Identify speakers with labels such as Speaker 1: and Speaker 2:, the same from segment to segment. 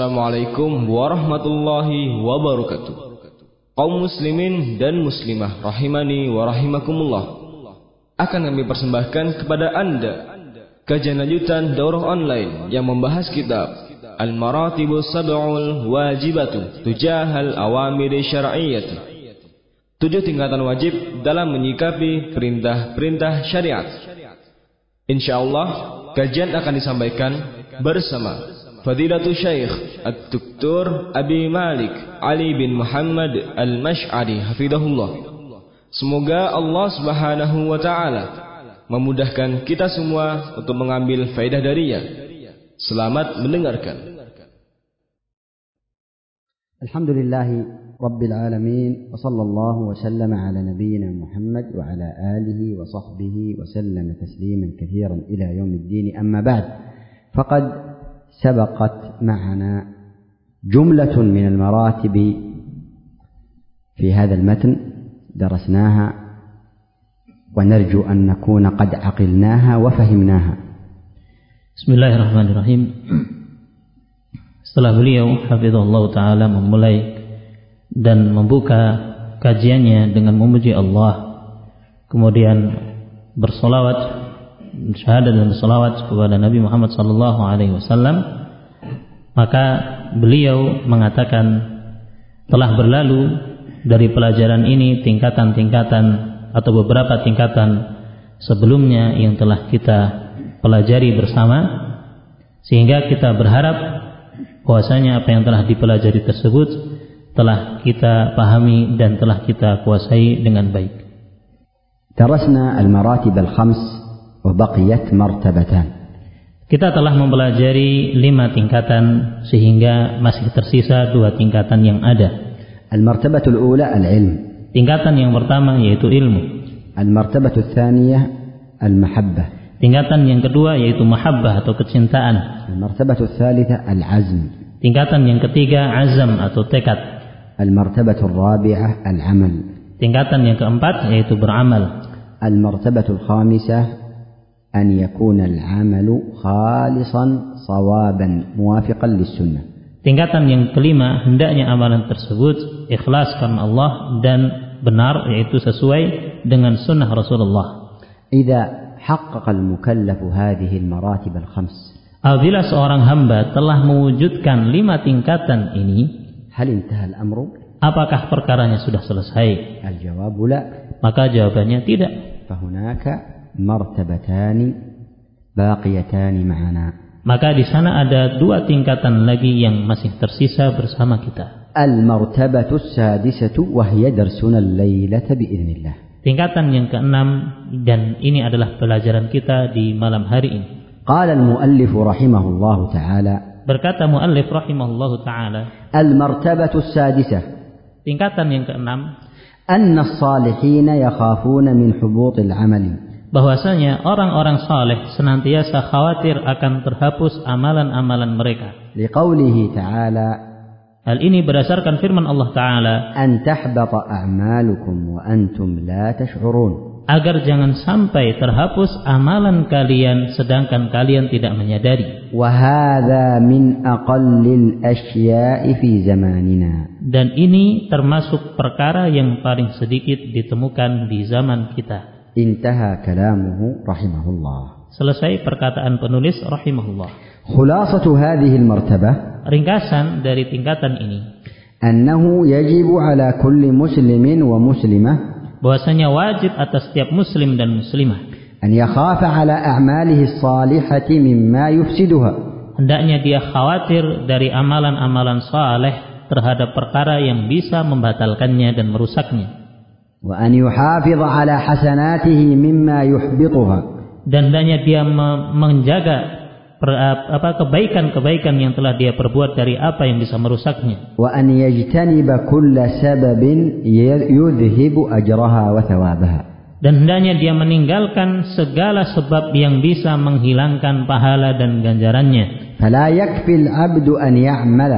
Speaker 1: Assalamualaikum warahmatullahi wabarakatuh. Kaum muslimin dan muslimah rahimani wa rahimakumullah. Akan kami persembahkan kepada Anda kajian lanjutan daurah online yang membahas kitab Al-Maratibu Sab'ul Wajibatu Tujahal Awamir Syar'iyyah. Tujuh tingkatan wajib dalam menyikapi perintah-perintah syariat. Insyaallah kajian akan disampaikan bersama Fadilatul Syekh Ad-Doktor Abi Malik Ali bin Muhammad Al-Mash'ari Hafidahullah Semoga Allah Subhanahu wa taala memudahkan kita semua untuk mengambil faedah darinya. Selamat mendengarkan.
Speaker 2: Alhamdulillah Rabbil Alamin wa sallallahu wa sallama ala nabiyyina Muhammad wa ala alihi wa sahbihi wa sallama tasliman katsiran ila yaumiddin amma ba'd. Faqad سبقت معنا جملة من المراتب في هذا المتن درسناها ونرجو أن نكون قد عقلناها وفهمناها
Speaker 3: Bismillahirrahmanirrahim. Setelah beliau hafizahullah taala memulai dan membuka kajiannya dengan memuji Allah, kemudian bersolawat syahadat dan salawat kepada Nabi Muhammad sallallahu alaihi wasallam maka beliau mengatakan telah berlalu dari pelajaran ini tingkatan-tingkatan atau beberapa tingkatan sebelumnya yang telah kita pelajari bersama sehingga kita berharap bahwasanya apa yang telah dipelajari tersebut telah kita pahami dan telah kita kuasai dengan baik.
Speaker 2: درسنا المراتب الخمس وبقيت مرتبتان
Speaker 3: Kita telah mempelajari lima tingkatan sehingga masih tersisa dua tingkatan yang ada.
Speaker 2: المرتبة الأولى العلم
Speaker 3: Tingkatan yang pertama yaitu ilmu.
Speaker 2: المرتبة الثانية المحبة
Speaker 3: Tingkatan yang kedua yaitu mahabbah atau kecintaan.
Speaker 2: المرتبة الثالثة العزم
Speaker 3: Tingkatan yang ketiga azam atau tekad.
Speaker 2: المرتبة الرابعة العمل
Speaker 3: Tingkatan yang keempat yaitu beramal.
Speaker 2: المرتبة الخامسة أن يكون العمل خالصا صوابا موافقا للسنة
Speaker 3: Tingkatan yang kelima hendaknya amalan tersebut ikhlas karena Allah dan benar yaitu sesuai dengan sunnah Rasulullah.
Speaker 2: إذا حقق المكلف هذه المراتب الخمس
Speaker 3: Apabila seorang hamba telah mewujudkan lima tingkatan ini,
Speaker 2: هل انتهى الأمر؟
Speaker 3: Apakah perkaranya sudah selesai?
Speaker 2: الجواب لا
Speaker 3: Maka jawabannya tidak.
Speaker 2: فهناك مرتبتان باقيتان معنا
Speaker 3: Maka di sana ada dua tingkatan lagi yang masih tersisa bersama kita.
Speaker 2: المرتبة السادسة وهي درسنا الليلة بإذن الله
Speaker 3: Tingkatan yang keenam dan ini adalah pelajaran kita di malam hari ini.
Speaker 2: قال المؤلف رحمه الله تعالى
Speaker 3: Berkata muallif rahimahullahu taala,
Speaker 2: المرتبة السادسة
Speaker 3: tingkatan yang keenam
Speaker 2: أن الصالحين يخافون من حبوط العمل
Speaker 3: bahwasanya orang-orang saleh senantiasa khawatir akan terhapus amalan-amalan mereka.
Speaker 2: لقوله تعالى
Speaker 3: Hal ini berdasarkan firman Allah taala,
Speaker 2: أن تحبط أعمالكم وأنتم لا تشعرون
Speaker 3: agar jangan sampai terhapus amalan kalian sedangkan kalian tidak menyadari
Speaker 2: وهذا من أقل الأشياء في زماننا
Speaker 3: dan ini termasuk perkara yang paling sedikit ditemukan di zaman kita
Speaker 2: انتهى كلامه رحمه الله
Speaker 3: selesai perkataan penulis rahimahullah
Speaker 2: خلاصة هذه المرتبة
Speaker 3: ringkasan dari tingkatan ini
Speaker 2: أنه يجب على كل مسلم ومسلمة
Speaker 3: bahwasanya wajib atas setiap muslim dan muslimah
Speaker 2: أن يخاف على أعماله الصالحة مما يفسدها
Speaker 3: hendaknya dia khawatir dari amalan-amalan saleh terhadap perkara yang bisa membatalkannya dan merusaknya
Speaker 2: وأن يحافظ على حسناته مما يحبطها
Speaker 3: dan hendaknya dia me- menjaga per- apa kebaikan-kebaikan yang telah dia perbuat dari apa yang bisa merusaknya
Speaker 2: وأن يجتنب كل سبب ي- يذهب أجرها وثوابها
Speaker 3: dan hendaknya dia meninggalkan segala sebab yang bisa menghilangkan pahala dan ganjarannya
Speaker 2: فلا يكفي العبد أن يعمل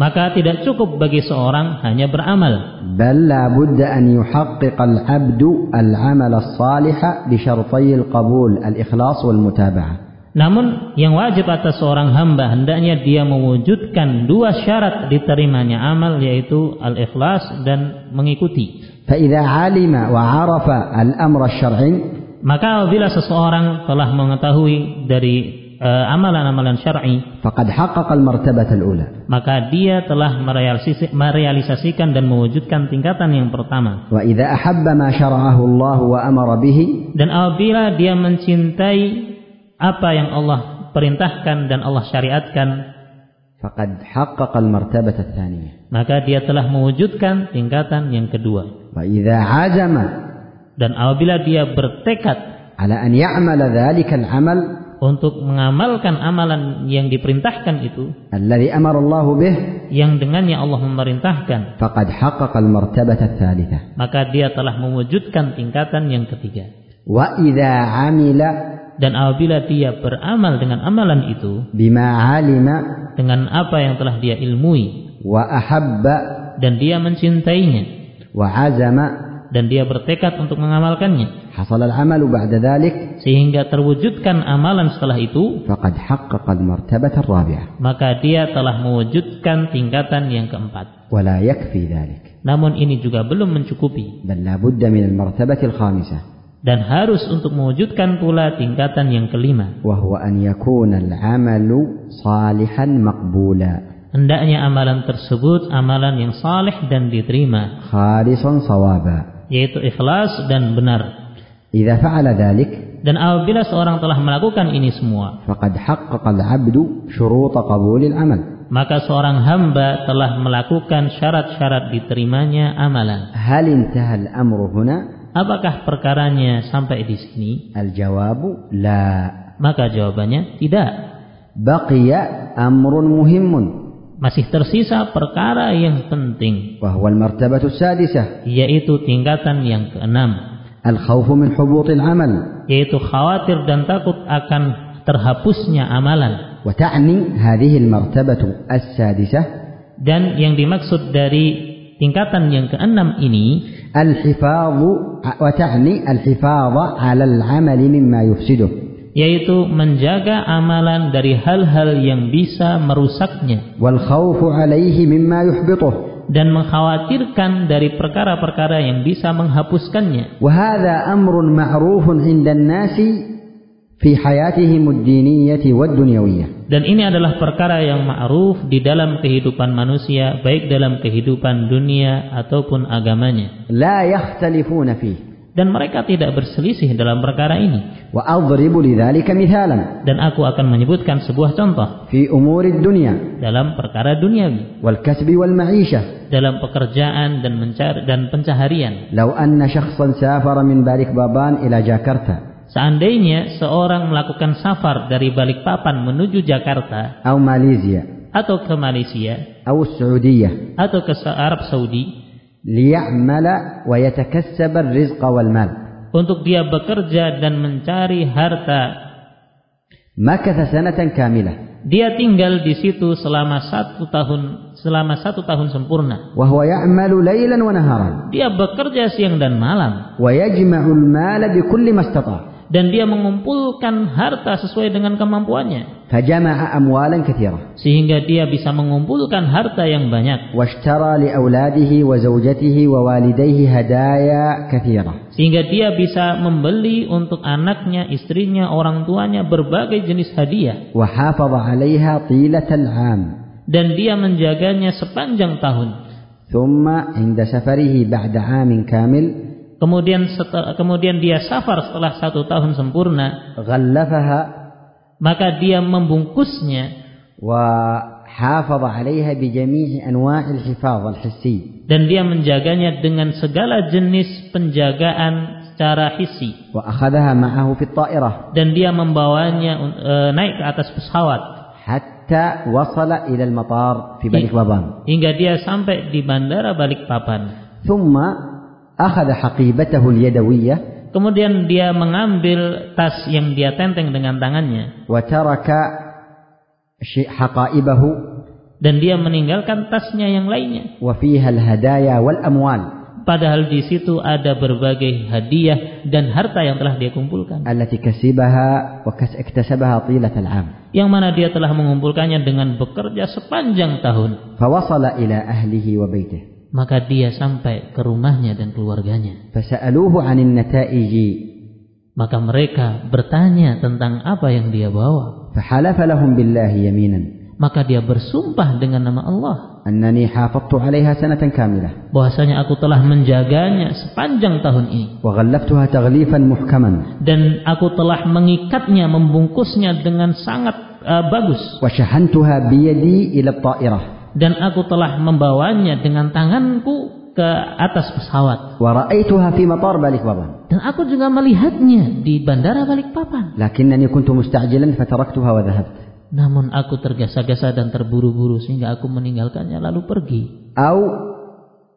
Speaker 3: maka tidak cukup bagi seorang hanya beramal
Speaker 2: بل لا بد أن يحقق العبد العمل الصالح بشرطي القبول الإخلاص والمتابعة
Speaker 3: Namun yang wajib atas seorang hamba hendaknya dia mewujudkan dua syarat diterimanya amal yaitu al-ikhlas dan mengikuti.
Speaker 2: فإذا علم وعرف الأمر الشرعي
Speaker 3: Maka apabila seseorang telah mengetahui dari eh, amalan-amalan syar'i,
Speaker 2: فقد حقق المرتبة الأولى
Speaker 3: maka dia telah merealisasi- merealisasikan dan mewujudkan tingkatan yang pertama.
Speaker 2: وإذا أحب ما شرعه الله وأمر به
Speaker 3: Dan apabila dia mencintai apa yang Allah perintahkan dan Allah syariatkan,
Speaker 2: فقد حقق المرتبة الثانية
Speaker 3: maka dia telah mewujudkan tingkatan yang kedua.
Speaker 2: وإذا عزم
Speaker 3: Dan apabila dia bertekad
Speaker 2: على أن يعمل ذلك العمل
Speaker 3: untuk mengamalkan amalan yang diperintahkan itu,
Speaker 2: الذي أمر الله به
Speaker 3: yang dengannya Allah memerintahkan,
Speaker 2: فقد حقق المرتبة الثالثة
Speaker 3: maka dia telah mewujudkan tingkatan yang ketiga.
Speaker 2: وإذا عمل
Speaker 3: Dan apabila dia beramal dengan amalan itu,
Speaker 2: بما علم
Speaker 3: dengan apa yang telah dia ilmui,
Speaker 2: وأحب
Speaker 3: dan dia mencintainya,
Speaker 2: وعزم
Speaker 3: dan dia bertekad untuk mengamalkannya,
Speaker 2: حصل العمل بعد ذلك
Speaker 3: sehingga terwujudkan amalan setelah itu,
Speaker 2: فقد حقق المرتبة الرابعة
Speaker 3: maka dia telah mewujudkan tingkatan yang keempat.
Speaker 2: ولا يكفي ذلك
Speaker 3: Namun ini juga belum mencukupi,
Speaker 2: بل لا بد من المرتبة الخامسة
Speaker 3: dan harus untuk mewujudkan pula tingkatan yang kelima.
Speaker 2: وهو أن يكون العمل صالحا مقبولا
Speaker 3: Hendaknya amalan tersebut amalan yang saleh dan diterima,
Speaker 2: خالصا صوابا
Speaker 3: yaitu ikhlas dan benar.
Speaker 2: إذا فعل ذلك
Speaker 3: Dan apabila seorang telah melakukan ini semua,
Speaker 2: فقد حقق العبد شروط قبول العمل
Speaker 3: maka seorang hamba telah melakukan syarat-syarat diterimanya amalan.
Speaker 2: هل انتهى الأمر هنا
Speaker 3: Apakah perkaranya sampai di sini?
Speaker 2: الجواب لا
Speaker 3: Maka jawabannya tidak.
Speaker 2: بقي أمر مهم
Speaker 3: Masih tersisa perkara yang penting,
Speaker 2: وهو المرتبة السادسة
Speaker 3: yaitu tingkatan yang keenam,
Speaker 2: الخوف من حبوط العمل
Speaker 3: yaitu khawatir dan takut akan terhapusnya amalan.
Speaker 2: وتعني هذه المرتبة السادسة
Speaker 3: Dan yang dimaksud dari tingkatan yang keenam ini
Speaker 2: الحفاظ وتعني الحفاظ على العمل مما يفسده
Speaker 3: yaitu menjaga amalan dari hal-hal yang bisa merusaknya
Speaker 2: والخوف عليه مما يحبطه
Speaker 3: dan mengkhawatirkan dari perkara-perkara yang bisa menghapuskannya.
Speaker 2: وهذا أمر معروف عند الناس في حياتهم الدينية والدنيوية
Speaker 3: Dan ini adalah perkara yang ma'ruf di dalam kehidupan manusia, baik dalam kehidupan dunia ataupun agamanya.
Speaker 2: لا يختلفون فيه
Speaker 3: Dan mereka tidak berselisih dalam perkara ini.
Speaker 2: وأضرب لذلك مثالا
Speaker 3: Dan aku akan menyebutkan sebuah contoh
Speaker 2: في أمور الدنيا
Speaker 3: dalam perkara duniawi,
Speaker 2: والكسب والمعيشة
Speaker 3: dalam pekerjaan dan mencari dan pencaharian.
Speaker 2: لو أن شخصا سافر من بارك بابان إلى جاكرتا
Speaker 3: Seandainya seorang melakukan safar dari Balikpapan menuju Jakarta
Speaker 2: أو ماليزيا
Speaker 3: atau ke Malaysia
Speaker 2: أو السعودية
Speaker 3: atau ke Sa- Arab Saudi
Speaker 2: ليعمل ويتكسب الرزق والمال
Speaker 3: untuk dia bekerja dan mencari harta,
Speaker 2: مكث سنة كاملة
Speaker 3: dia tinggal di situ selama satu tahun selama satu tahun sempurna.
Speaker 2: وهو يعمل ليلا ونهارا
Speaker 3: Dia bekerja siang dan malam
Speaker 2: ويجمع المال بكل ما استطاع
Speaker 3: dan dia mengumpulkan harta sesuai dengan kemampuannya
Speaker 2: فجمع أموالا كثيرة
Speaker 3: sehingga dia bisa mengumpulkan harta yang banyak
Speaker 2: واشترى لأولاده وزوجته ووالديه هدايا كثيرة
Speaker 3: sehingga dia bisa membeli untuk anaknya, istrinya, orang tuanya berbagai jenis hadiah
Speaker 2: وحافظ عليها طيلة العام
Speaker 3: dan dia menjaganya sepanjang tahun.
Speaker 2: ثم عند سفره بعد عام كامل
Speaker 3: Kemudian setel- kemudian dia safar setelah satu tahun sempurna,
Speaker 2: غلفها
Speaker 3: maka dia membungkusnya
Speaker 2: وحافظ عليها بجميع أنواع الحفاظ الحسي
Speaker 3: dan dia menjaganya dengan segala jenis penjagaan secara hissi
Speaker 2: وأخذها معه في الطائرة
Speaker 3: dan dia membawanya eh, naik ke atas pesawat
Speaker 2: حتى وصل إلى المطار في
Speaker 3: إيه.
Speaker 2: بنك بابان
Speaker 3: hingga dia sampai di bandara Balikpapan.
Speaker 2: ثم أخذ حقيبته اليدوية
Speaker 3: Kemudian dia mengambil tas yang dia tenteng dengan tangannya
Speaker 2: وترك شي- حقائبه
Speaker 3: dan dia meninggalkan tasnya yang lainnya
Speaker 2: وفيها الهدايا والأموال
Speaker 3: padahal di situ ada berbagai hadiah dan harta yang telah dia kumpulkan.
Speaker 2: التي كسبها وكس اكتسبها طيلة العام
Speaker 3: Yang mana dia telah mengumpulkannya dengan bekerja sepanjang tahun.
Speaker 2: فوصل إلى أهله وبيته
Speaker 3: Maka dia sampai ke rumahnya dan keluarganya.
Speaker 2: فسألوه عن النتائج
Speaker 3: Maka mereka bertanya tentang apa yang dia bawa.
Speaker 2: فحلف لهم بالله يمينا
Speaker 3: Maka dia bersumpah dengan nama Allah.
Speaker 2: أنني حافظت عليها سنة كاملة
Speaker 3: Bahwasanya aku telah menjaganya sepanjang tahun ini.
Speaker 2: وغلفتها تغليفا محكما
Speaker 3: Dan aku telah mengikatnya, membungkusnya dengan sangat eh, bagus.
Speaker 2: وشحنتها بيدي إلى الطائرة
Speaker 3: Dan aku telah membawanya dengan tanganku ke atas pesawat.
Speaker 2: ورأيتها في مطار باlikpapan
Speaker 3: Dan aku juga melihatnya di bandara Balikpapan.
Speaker 2: لكنني كنت مستعجلا فتركتها وذهبت
Speaker 3: Namun aku tergesa-gesa dan terburu-buru sehingga aku meninggalkannya lalu pergi.
Speaker 2: أو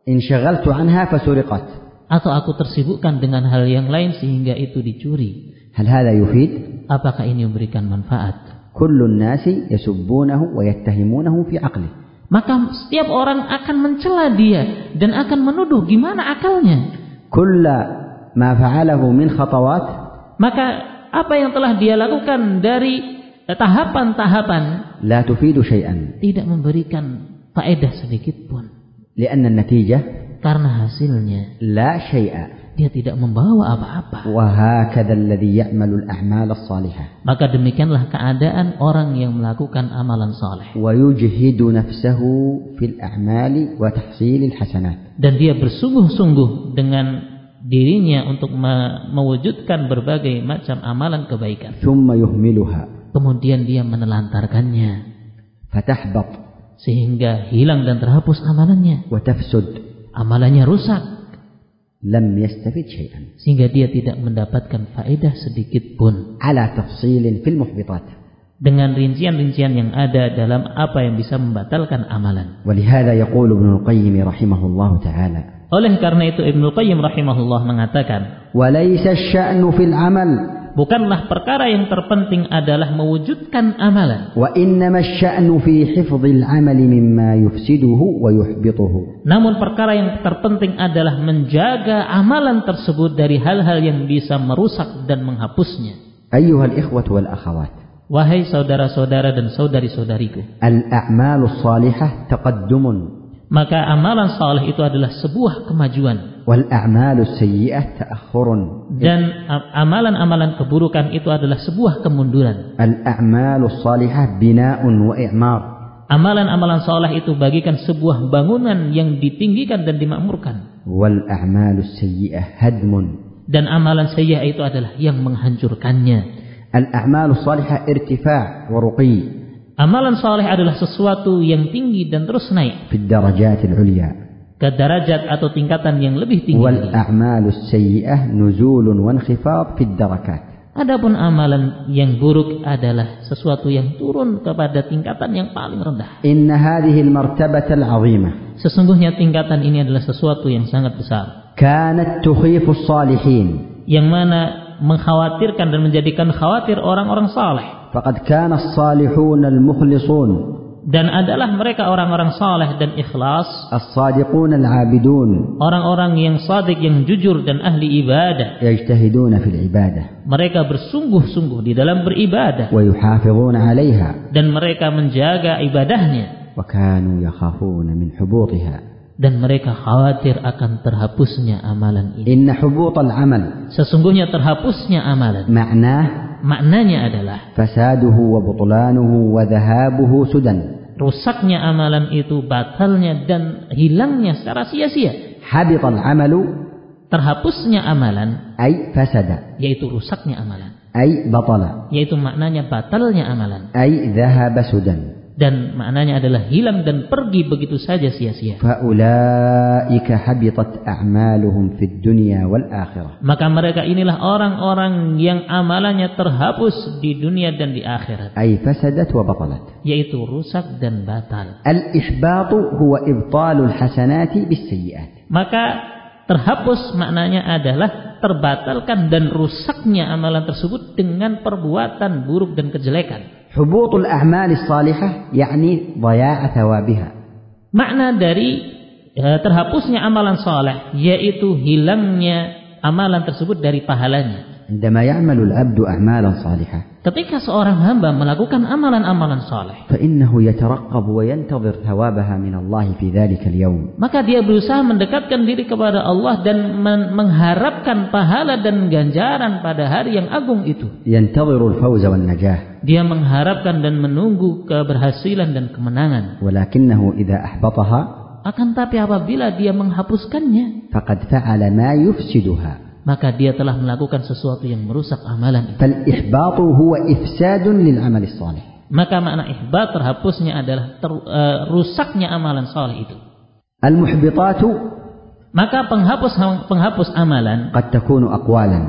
Speaker 2: انشغلت عنها فسرقت
Speaker 3: Atau aku tersibukkan dengan hal yang lain sehingga itu dicuri.
Speaker 2: هل هذا يفيد؟
Speaker 3: Apakah ini memberikan manfaat?
Speaker 2: كل الناس يسبونه ويتهمونه في عقله
Speaker 3: Maka setiap orang akan mencela dia dan akan menuduh gimana akalnya.
Speaker 2: كل ما فعله من خطوات
Speaker 3: Maka apa yang telah dia lakukan dari eh, tahapan-tahapan
Speaker 2: لا تفيد شيئا
Speaker 3: tidak memberikan faedah sedikit pun
Speaker 2: لأن النتيجة
Speaker 3: karena hasilnya
Speaker 2: لا شيء
Speaker 3: dia tidak membawa apa-apa.
Speaker 2: وهكذا الذي يعمل الأعمال الصالحة
Speaker 3: Maka demikianlah keadaan orang yang melakukan amalan saleh
Speaker 2: ويجهد نفسه في الأعمال وتحصيل الحسنات
Speaker 3: dan dia bersungguh-sungguh dengan dirinya untuk me- mewujudkan berbagai macam amalan kebaikan.
Speaker 2: ثم يهملها
Speaker 3: Kemudian dia menelantarkannya
Speaker 2: فتحبط
Speaker 3: sehingga hilang dan terhapus amalannya.
Speaker 2: وتفسد
Speaker 3: Amalannya rusak
Speaker 2: لم يستفد شيئا
Speaker 3: sehingga dia tidak mendapatkan faedah sedikit pun
Speaker 2: على تفصيل في المحبطات
Speaker 3: dengan rincian-rincian yang ada dalam apa yang bisa membatalkan amalan.
Speaker 2: ولهذا يقول ابن القيم رحمه الله تعالى
Speaker 3: Oleh karena itu Ibnu Qayyim rahimahullah mengatakan,
Speaker 2: وليس الشأن في العمل
Speaker 3: Bukanlah perkara yang terpenting adalah mewujudkan amalan.
Speaker 2: وإنما الشأن في حفظ العمل مما يفسده ويحبطه
Speaker 3: Namun perkara yang terpenting adalah menjaga amalan tersebut dari hal-hal yang bisa merusak dan menghapusnya.
Speaker 2: أيها الإخوة والأخوات
Speaker 3: Wahai saudara-saudara dan saudari-saudariku,
Speaker 2: الأعمال الصالحة تقدم
Speaker 3: maka amalan saleh itu adalah sebuah kemajuan
Speaker 2: والأعمال السيئة تأخر
Speaker 3: dan a- amalan-amalan keburukan itu adalah sebuah kemunduran.
Speaker 2: الأعمال الصالحة بناء وإعمار
Speaker 3: Amalan-amalan saleh itu bagikan sebuah bangunan yang ditinggikan dan dimakmurkan
Speaker 2: والأعمال السيئة هدم
Speaker 3: dan amalan sayyi'ah itu adalah yang menghancurkannya.
Speaker 2: الأعمال الصالحة ارتفاع ورقي
Speaker 3: Amalan soleh adalah sesuatu yang tinggi dan terus naik
Speaker 2: في الدرجات العليا
Speaker 3: ke derajat atau tingkatan yang lebih tinggi.
Speaker 2: والأعمال السيئة نزول وانخفاض في الدركات
Speaker 3: Adapun amalan yang buruk adalah sesuatu yang turun kepada tingkatan yang paling rendah.
Speaker 2: إن هذه المرتبة العظيمة
Speaker 3: Sesungguhnya tingkatan ini adalah sesuatu yang sangat besar,
Speaker 2: كانت تخيف الصالحين
Speaker 3: yang mana mengkhawatirkan dan menjadikan khawatir orang-orang saleh.
Speaker 2: فقد كان الصالحون المخلصون
Speaker 3: Dan adalah mereka orang-orang saleh dan ikhlas,
Speaker 2: الصادقون العابدون
Speaker 3: orang-orang yang sadik, yang jujur dan ahli ibadah.
Speaker 2: يجتهدون في العبادة
Speaker 3: Mereka bersungguh-sungguh di dalam beribadah.
Speaker 2: ويحافظون عليها
Speaker 3: dan mereka menjaga ibadahnya
Speaker 2: وكانوا يخافون من حبوطها
Speaker 3: dan mereka khawatir akan terhapusnya amalan ini.
Speaker 2: إن حبوط العمل
Speaker 3: Sesungguhnya terhapusnya amalan
Speaker 2: معناه
Speaker 3: maknanya adalah
Speaker 2: فساده وبطلانه وذهابه سدى
Speaker 3: rusaknya amalan itu, batalnya dan hilangnya secara sia-sia.
Speaker 2: حبط العمل
Speaker 3: Terhapusnya amalan
Speaker 2: أي فسد
Speaker 3: yaitu rusaknya amalan,
Speaker 2: أي بطل
Speaker 3: yaitu maknanya batalnya amalan
Speaker 2: أي ذهب سدى
Speaker 3: dan maknanya adalah hilang dan pergi begitu saja sia-sia.
Speaker 2: فأولئك حبطت أعمالهم في الدنيا والآخرة
Speaker 3: Maka mereka inilah orang-orang yang amalannya terhapus di dunia dan di akhirat.
Speaker 2: أي فسدت وبطلت
Speaker 3: yaitu rusak dan batal.
Speaker 2: الإحباط هو إبطال الحسنات بالسيئات
Speaker 3: Maka terhapus maknanya adalah terbatalkan dan rusaknya amalan tersebut dengan perbuatan buruk dan kejelekan.
Speaker 2: حبوط الأعمال الصالحة يعني ضياع ثوابها
Speaker 3: Makna dari eh, terhapusnya amalan soleh yaitu hilangnya amalan tersebut dari pahalanya.
Speaker 2: عندما يعمل العبد أعمالا صالحة
Speaker 3: Ketika seorang hamba melakukan amalan-amalan soleh,
Speaker 2: فإنه يترقب وينتظر ثوابها من الله في ذلك اليوم
Speaker 3: maka dia berusaha mendekatkan diri kepada Allah dan men- mengharapkan pahala dan ganjaran pada hari yang agung itu.
Speaker 2: ينتظر الفوز والنجاة
Speaker 3: Dia mengharapkan dan menunggu keberhasilan dan kemenangan.
Speaker 2: ولكنه إذا أحبطها
Speaker 3: Akan tapi apabila dia menghapuskannya,
Speaker 2: فقد فعل ما يفسدها
Speaker 3: maka dia telah melakukan sesuatu yang merusak amalan. itu.
Speaker 2: فالإحباط هو إفساد للعمل الصالح
Speaker 3: Maka makna ihbat terhapusnya adalah ter- eh, rusaknya amalan soleh itu.
Speaker 2: المحبطات
Speaker 3: Maka penghapus penghapus amalan
Speaker 2: قد تكون أقوالا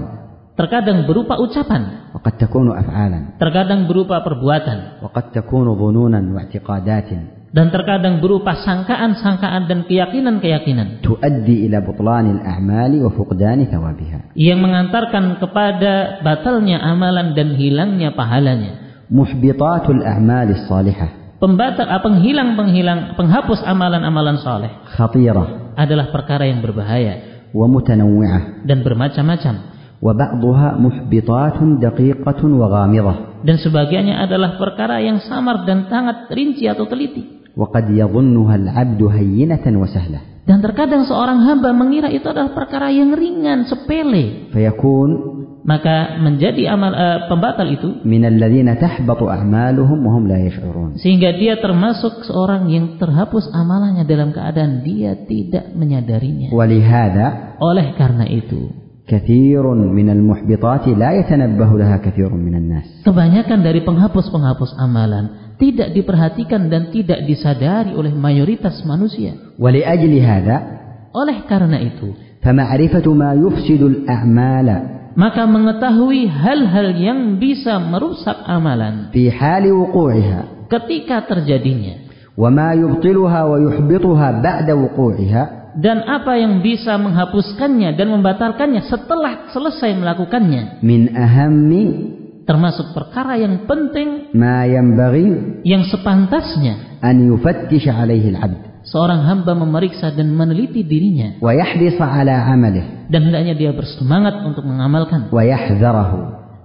Speaker 3: terkadang berupa ucapan,
Speaker 2: وقد تكون أفعالا
Speaker 3: terkadang berupa perbuatan,
Speaker 2: وقد تكون ظنونا واعتقادات
Speaker 3: dan terkadang berupa sangkaan-sangkaan dan keyakinan-keyakinan
Speaker 2: تؤدي إلى بطلان الأعمال وفقدان ثوابها
Speaker 3: yang mengantarkan kepada batalnya amalan dan hilangnya pahalanya.
Speaker 2: محبطات الأعمال الصالحة
Speaker 3: Pembatal, ah, penghilang, penghilang, penghapus amalan-amalan soleh
Speaker 2: خطيرة
Speaker 3: adalah perkara yang berbahaya
Speaker 2: ومتنوعة
Speaker 3: dan bermacam-macam.
Speaker 2: وبعضها محبطات دقيقة وغامضة
Speaker 3: Dan sebagiannya adalah perkara yang samar dan sangat rinci atau teliti.
Speaker 2: وقد يظنها العبد هينة وسهلة
Speaker 3: Dan terkadang seorang hamba mengira itu adalah perkara yang ringan, sepele.
Speaker 2: فيكون
Speaker 3: Maka menjadi amal eh, pembatal itu
Speaker 2: من الذين تحبط أعمالهم وهم لا يشعرون
Speaker 3: sehingga dia termasuk seorang yang terhapus amalannya dalam keadaan dia tidak menyadarinya.
Speaker 2: ولهذا
Speaker 3: Oleh karena itu,
Speaker 2: كثير من المحبطات لا يتنبه لها كثير من الناس
Speaker 3: kebanyakan dari penghapus-penghapus amalan tidak diperhatikan dan tidak disadari oleh mayoritas manusia.
Speaker 2: ولأجل هذا
Speaker 3: Oleh karena itu,
Speaker 2: فمعرفة ما يفسد الأعمال
Speaker 3: maka mengetahui hal-hal yang bisa merusak amalan
Speaker 2: في حال وقوعها
Speaker 3: ketika terjadinya
Speaker 2: وما يبطلها ويحبطها بعد وقوعها
Speaker 3: dan apa yang bisa menghapuskannya dan membatalkannya setelah selesai melakukannya
Speaker 2: من أهم
Speaker 3: termasuk perkara yang penting
Speaker 2: ما ينبغي
Speaker 3: yang sepantasnya
Speaker 2: أن يفتش عليه العبد
Speaker 3: seorang hamba memeriksa dan meneliti dirinya
Speaker 2: ويحرص على عمله
Speaker 3: dan hendaknya dia bersemangat untuk mengamalkan
Speaker 2: ويحذره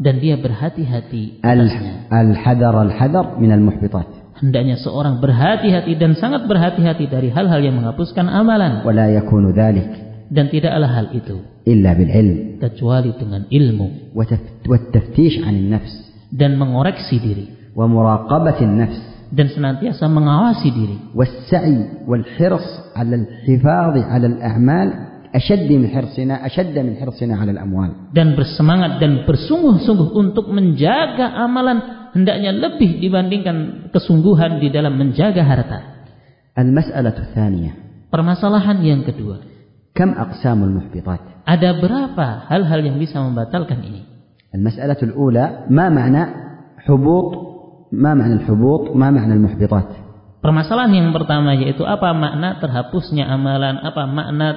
Speaker 3: dan dia berhati-hati atasnya.
Speaker 2: ال- الحذر الحذر من المحبطات
Speaker 3: Hendaknya seorang berhati-hati dan sangat berhati-hati dari hal-hal yang menghapuskan amalan
Speaker 2: ولا يكون ذلك
Speaker 3: dan tidaklah hal itu
Speaker 2: إلا بالعلم
Speaker 3: kecuali dengan ilmu
Speaker 2: وتف- والتفتيش عن النفس
Speaker 3: dan mengoreksi diri
Speaker 2: ومراقبة النفس
Speaker 3: dan senantiasa mengawasi diri
Speaker 2: والسعي والحرص على الحفاظ على الأعمال أشد من حرصنا أشد من حرصنا على الأموال
Speaker 3: dan bersemangat dan bersungguh-sungguh untuk menjaga amalan hendaknya lebih dibandingkan kesungguhan di dalam menjaga harta.
Speaker 2: المسألة الثانية
Speaker 3: Permasalahan yang kedua,
Speaker 2: كم أقسام المحبطات؟
Speaker 3: ada berapa hal-hal yang bisa membatalkan ini?
Speaker 2: المسألة الأولى ما معنى حبوط ما معنى الحبوط ما معنى المحبطات
Speaker 3: Permasalahan yang pertama yaitu apa makna terhapusnya amalan, apa makna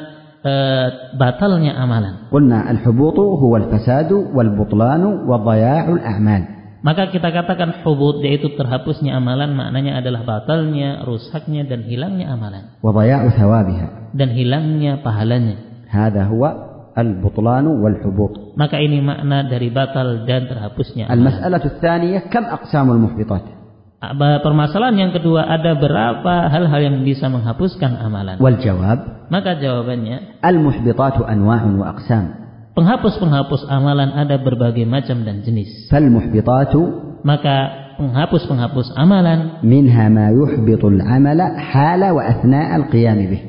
Speaker 3: eh, batalnya amalan.
Speaker 2: قلنا الحبوط هو الفساد والبطلان وضياع الأعمال
Speaker 3: Maka kita katakan hubud yaitu terhapusnya amalan maknanya adalah batalnya, rusaknya dan hilangnya amalan
Speaker 2: وضياع ثوابها
Speaker 3: dan hilangnya pahalanya.
Speaker 2: هذا هو البطلان والحبوط
Speaker 3: Maka ini makna dari batal dan terhapusnya amalan.
Speaker 2: المسألة الثانية كم أقسام المحبطات
Speaker 3: Apa- Permasalahan yang kedua ada berapa hal-hal yang bisa menghapuskan amalan.
Speaker 2: والجواب
Speaker 3: Maka jawabannya
Speaker 2: المحبطات أنواع وأقسام
Speaker 3: Penghapus-penghapus amalan ada berbagai macam dan jenis.
Speaker 2: فالمحبطات
Speaker 3: Maka penghapus-penghapus amalan
Speaker 2: منها ما يحبط العمل حال وأثناء القيام به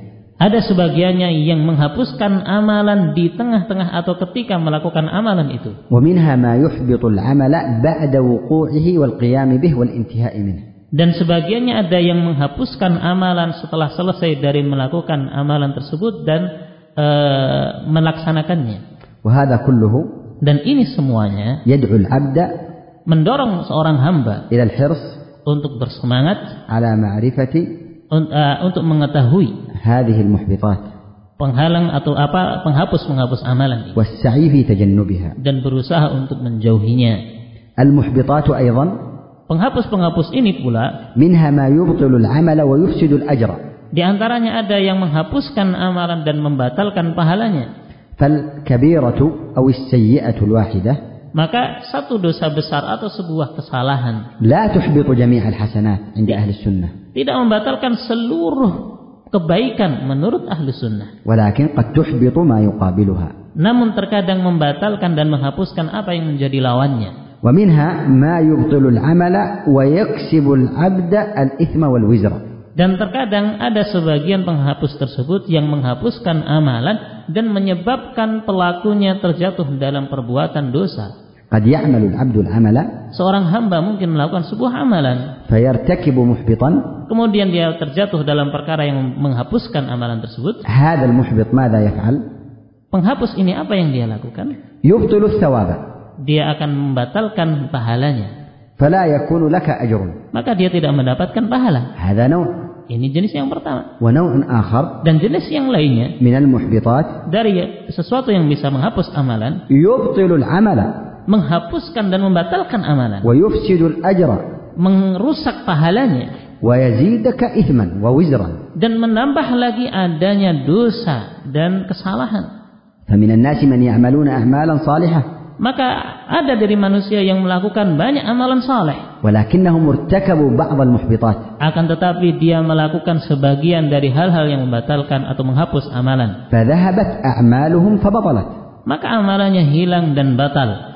Speaker 3: ada sebagiannya yang menghapuskan amalan di tengah-tengah atau ketika melakukan amalan itu
Speaker 2: ومنها ما يحبط العمل بعد وقوعه والقيام به والانتهاء منه
Speaker 3: dan sebagiannya ada yang menghapuskan amalan setelah selesai dari melakukan amalan tersebut dan eh, melaksanakannya.
Speaker 2: وهذا كله
Speaker 3: Dan ini semuanya
Speaker 2: يدعو العبد
Speaker 3: mendorong seorang hamba
Speaker 2: إلى الحرص
Speaker 3: untuk bersemangat
Speaker 2: على معرفة
Speaker 3: un- eh, untuk mengetahui
Speaker 2: هذه المحبطات
Speaker 3: penghalang atau apa penghapus penghapus amalan ini.
Speaker 2: والسعي في تجنبها
Speaker 3: dan berusaha untuk menjauhinya.
Speaker 2: المحبطات أيضا
Speaker 3: Penghapus-penghapus ini pula
Speaker 2: منها ما يبطل العمل ويفسد الأجر
Speaker 3: Di antaranya ada yang menghapuskan amalan dan membatalkan pahalanya.
Speaker 2: فالكبيرة أو السيئة الواحدة
Speaker 3: Maka satu dosa besar atau sebuah kesalahan
Speaker 2: لا تحبط جميع الحسنات عند أهل السنة
Speaker 3: tidak membatalkan seluruh kebaikan menurut ahlu sunnah.
Speaker 2: ولكن قد تحبط ما يقابلها
Speaker 3: Namun terkadang membatalkan dan menghapuskan apa yang menjadi lawannya.
Speaker 2: ومنها ما يبطل العمل ويكسب العبد الإثم والوزر
Speaker 3: Dan terkadang ada sebagian penghapus tersebut yang menghapuskan amalan dan menyebabkan pelakunya terjatuh dalam perbuatan dosa.
Speaker 2: قد يعمل العبد العمل
Speaker 3: Seorang hamba mungkin melakukan sebuah amalan,
Speaker 2: فيرتكب محبطا
Speaker 3: kemudian dia terjatuh dalam perkara yang menghapuskan amalan tersebut.
Speaker 2: هذا المحبط ماذا يفعل
Speaker 3: Penghapus ini apa yang dia lakukan?
Speaker 2: يبطل الثواب
Speaker 3: Dia akan membatalkan pahalanya.
Speaker 2: فلا يكون لك أجر
Speaker 3: Maka dia tidak mendapatkan pahala.
Speaker 2: هذا نوع
Speaker 3: Ini jenis yang pertama.
Speaker 2: ونوع آخر
Speaker 3: Dan jenis yang lainnya
Speaker 2: من المحبطات
Speaker 3: dari sesuatu yang bisa menghapus amalan,
Speaker 2: يبطل العمل
Speaker 3: menghapuskan dan membatalkan amalan,
Speaker 2: ويفسد الأجر
Speaker 3: merusak pahalanya
Speaker 2: ويزيدك إثما ووزرا
Speaker 3: dan menambah lagi adanya dosa dan kesalahan.
Speaker 2: فمن الناس من يعملون أعمالا صالحة
Speaker 3: Maka ada dari manusia yang melakukan banyak amalan saleh,
Speaker 2: ولكنهم ارتكبوا بعض المحبطات
Speaker 3: akan tetapi dia melakukan sebagian dari hal-hal yang membatalkan atau menghapus amalan.
Speaker 2: فذهبت أعمالهم فبطلت
Speaker 3: Maka amalannya hilang dan batal.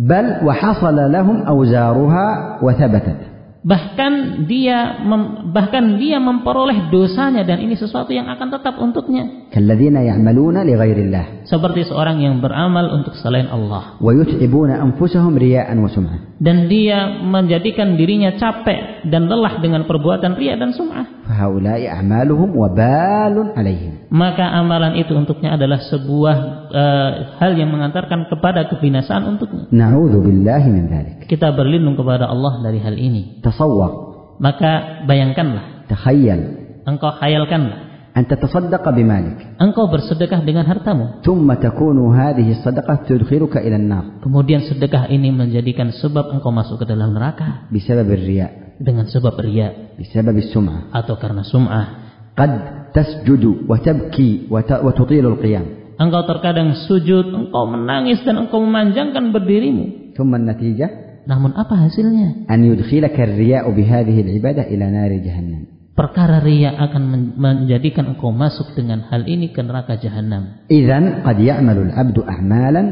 Speaker 2: بل وحصل لهم أوزارها وثبتت
Speaker 3: Bahkan dia mem- bahkan dia memperoleh dosanya dan ini sesuatu yang akan tetap untuknya.
Speaker 2: كالذين يعملون لغير الله
Speaker 3: seperti seorang yang beramal untuk selain Allah
Speaker 2: ويتعبون أنفسهم رياء وسمعة
Speaker 3: dan dia menjadikan dirinya capek dan lelah dengan perbuatan ria dan sum'ah
Speaker 2: فهؤلاء أعمالهم وبال عليهم
Speaker 3: maka amalan itu untuknya adalah sebuah eh, hal yang mengantarkan kepada kebinasaan untuknya
Speaker 2: نعوذ بالله من ذلك
Speaker 3: kita berlindung kepada Allah dari hal ini
Speaker 2: تصور
Speaker 3: maka bayangkanlah
Speaker 2: تخيل
Speaker 3: engkau khayalkanlah
Speaker 2: أن تتصدق بمالك
Speaker 3: engkau bersedekah dengan hartamu
Speaker 2: ثم تكون هذه الصدقة تدخلك إلى النار
Speaker 3: kemudian sedekah ini menjadikan sebab engkau masuk ke dalam neraka
Speaker 2: بسبب الرياء
Speaker 3: dengan sebab ria
Speaker 2: بسبب السمعة
Speaker 3: atau karena sum'ah
Speaker 2: قد تسجد وتبكي وت- وتطيل القيام
Speaker 3: Engkau terkadang sujud, engkau menangis dan engkau memanjangkan berdirimu.
Speaker 2: ثم النتيجة
Speaker 3: Namun apa hasilnya?
Speaker 2: أن يدخلك الرياء بهذه العبادة إلى نار جهنم
Speaker 3: Perkara ria akan men- menjadikan engkau masuk dengan hal ini ke neraka jahanam.
Speaker 2: إذا قد يعمل العبد أعمالا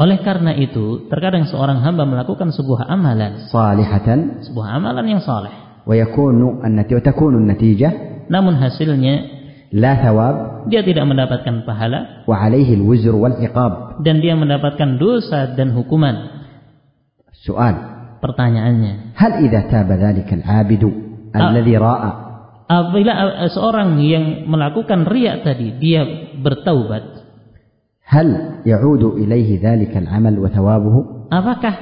Speaker 3: Oleh karena itu, terkadang seorang hamba melakukan sebuah amalan,
Speaker 2: صالحة
Speaker 3: sebuah amalan yang saleh.
Speaker 2: ويكون النتيجة وتكون النتيجة
Speaker 3: Namun hasilnya
Speaker 2: لا ثواب
Speaker 3: dia tidak mendapatkan pahala
Speaker 2: وعليه الوزر والعقاب
Speaker 3: dan dia mendapatkan dosa dan hukuman.
Speaker 2: السؤال
Speaker 3: Pertanyaannya,
Speaker 2: هل إذا تاب ذلك العابد الذي رأى
Speaker 3: apabila eh, seorang yang melakukan ria tadi dia bertaubat,
Speaker 2: هل يعود إليه ذلك العمل وثوابه
Speaker 3: Apakah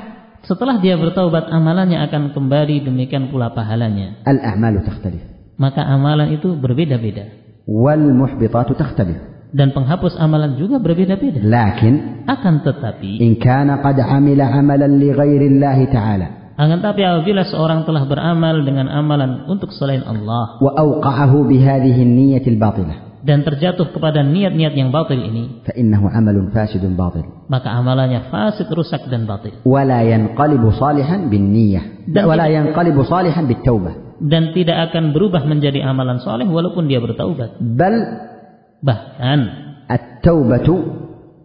Speaker 3: setelah dia bertaubat amalannya akan kembali demikian pula pahalanya?
Speaker 2: الأعمال تختلف
Speaker 3: Maka amalan itu berbeda-beda
Speaker 2: والمحبطات تختلف
Speaker 3: dan penghapus amalan juga berbeda-beda.
Speaker 2: لكن
Speaker 3: Akan tetapi,
Speaker 2: إن كان قد عمل عملا لغير الله تعالى
Speaker 3: akan tetapi apabila seorang telah beramal dengan amalan untuk selain Allah
Speaker 2: وأوقعه بهذه النية الباطلة
Speaker 3: dan terjatuh kepada niat-niat yang batil ini,
Speaker 2: فإنه عمل فاسد باطل
Speaker 3: maka amalannya fasid, rusak dan batil
Speaker 2: ولا ينقلب صالحا بالنية
Speaker 3: ده-
Speaker 2: ولا ينقلب صالحا بالتوبة
Speaker 3: dan tidak akan berubah menjadi amalan soleh walaupun dia bertaubat.
Speaker 2: بل
Speaker 3: Bahkan
Speaker 2: التوبة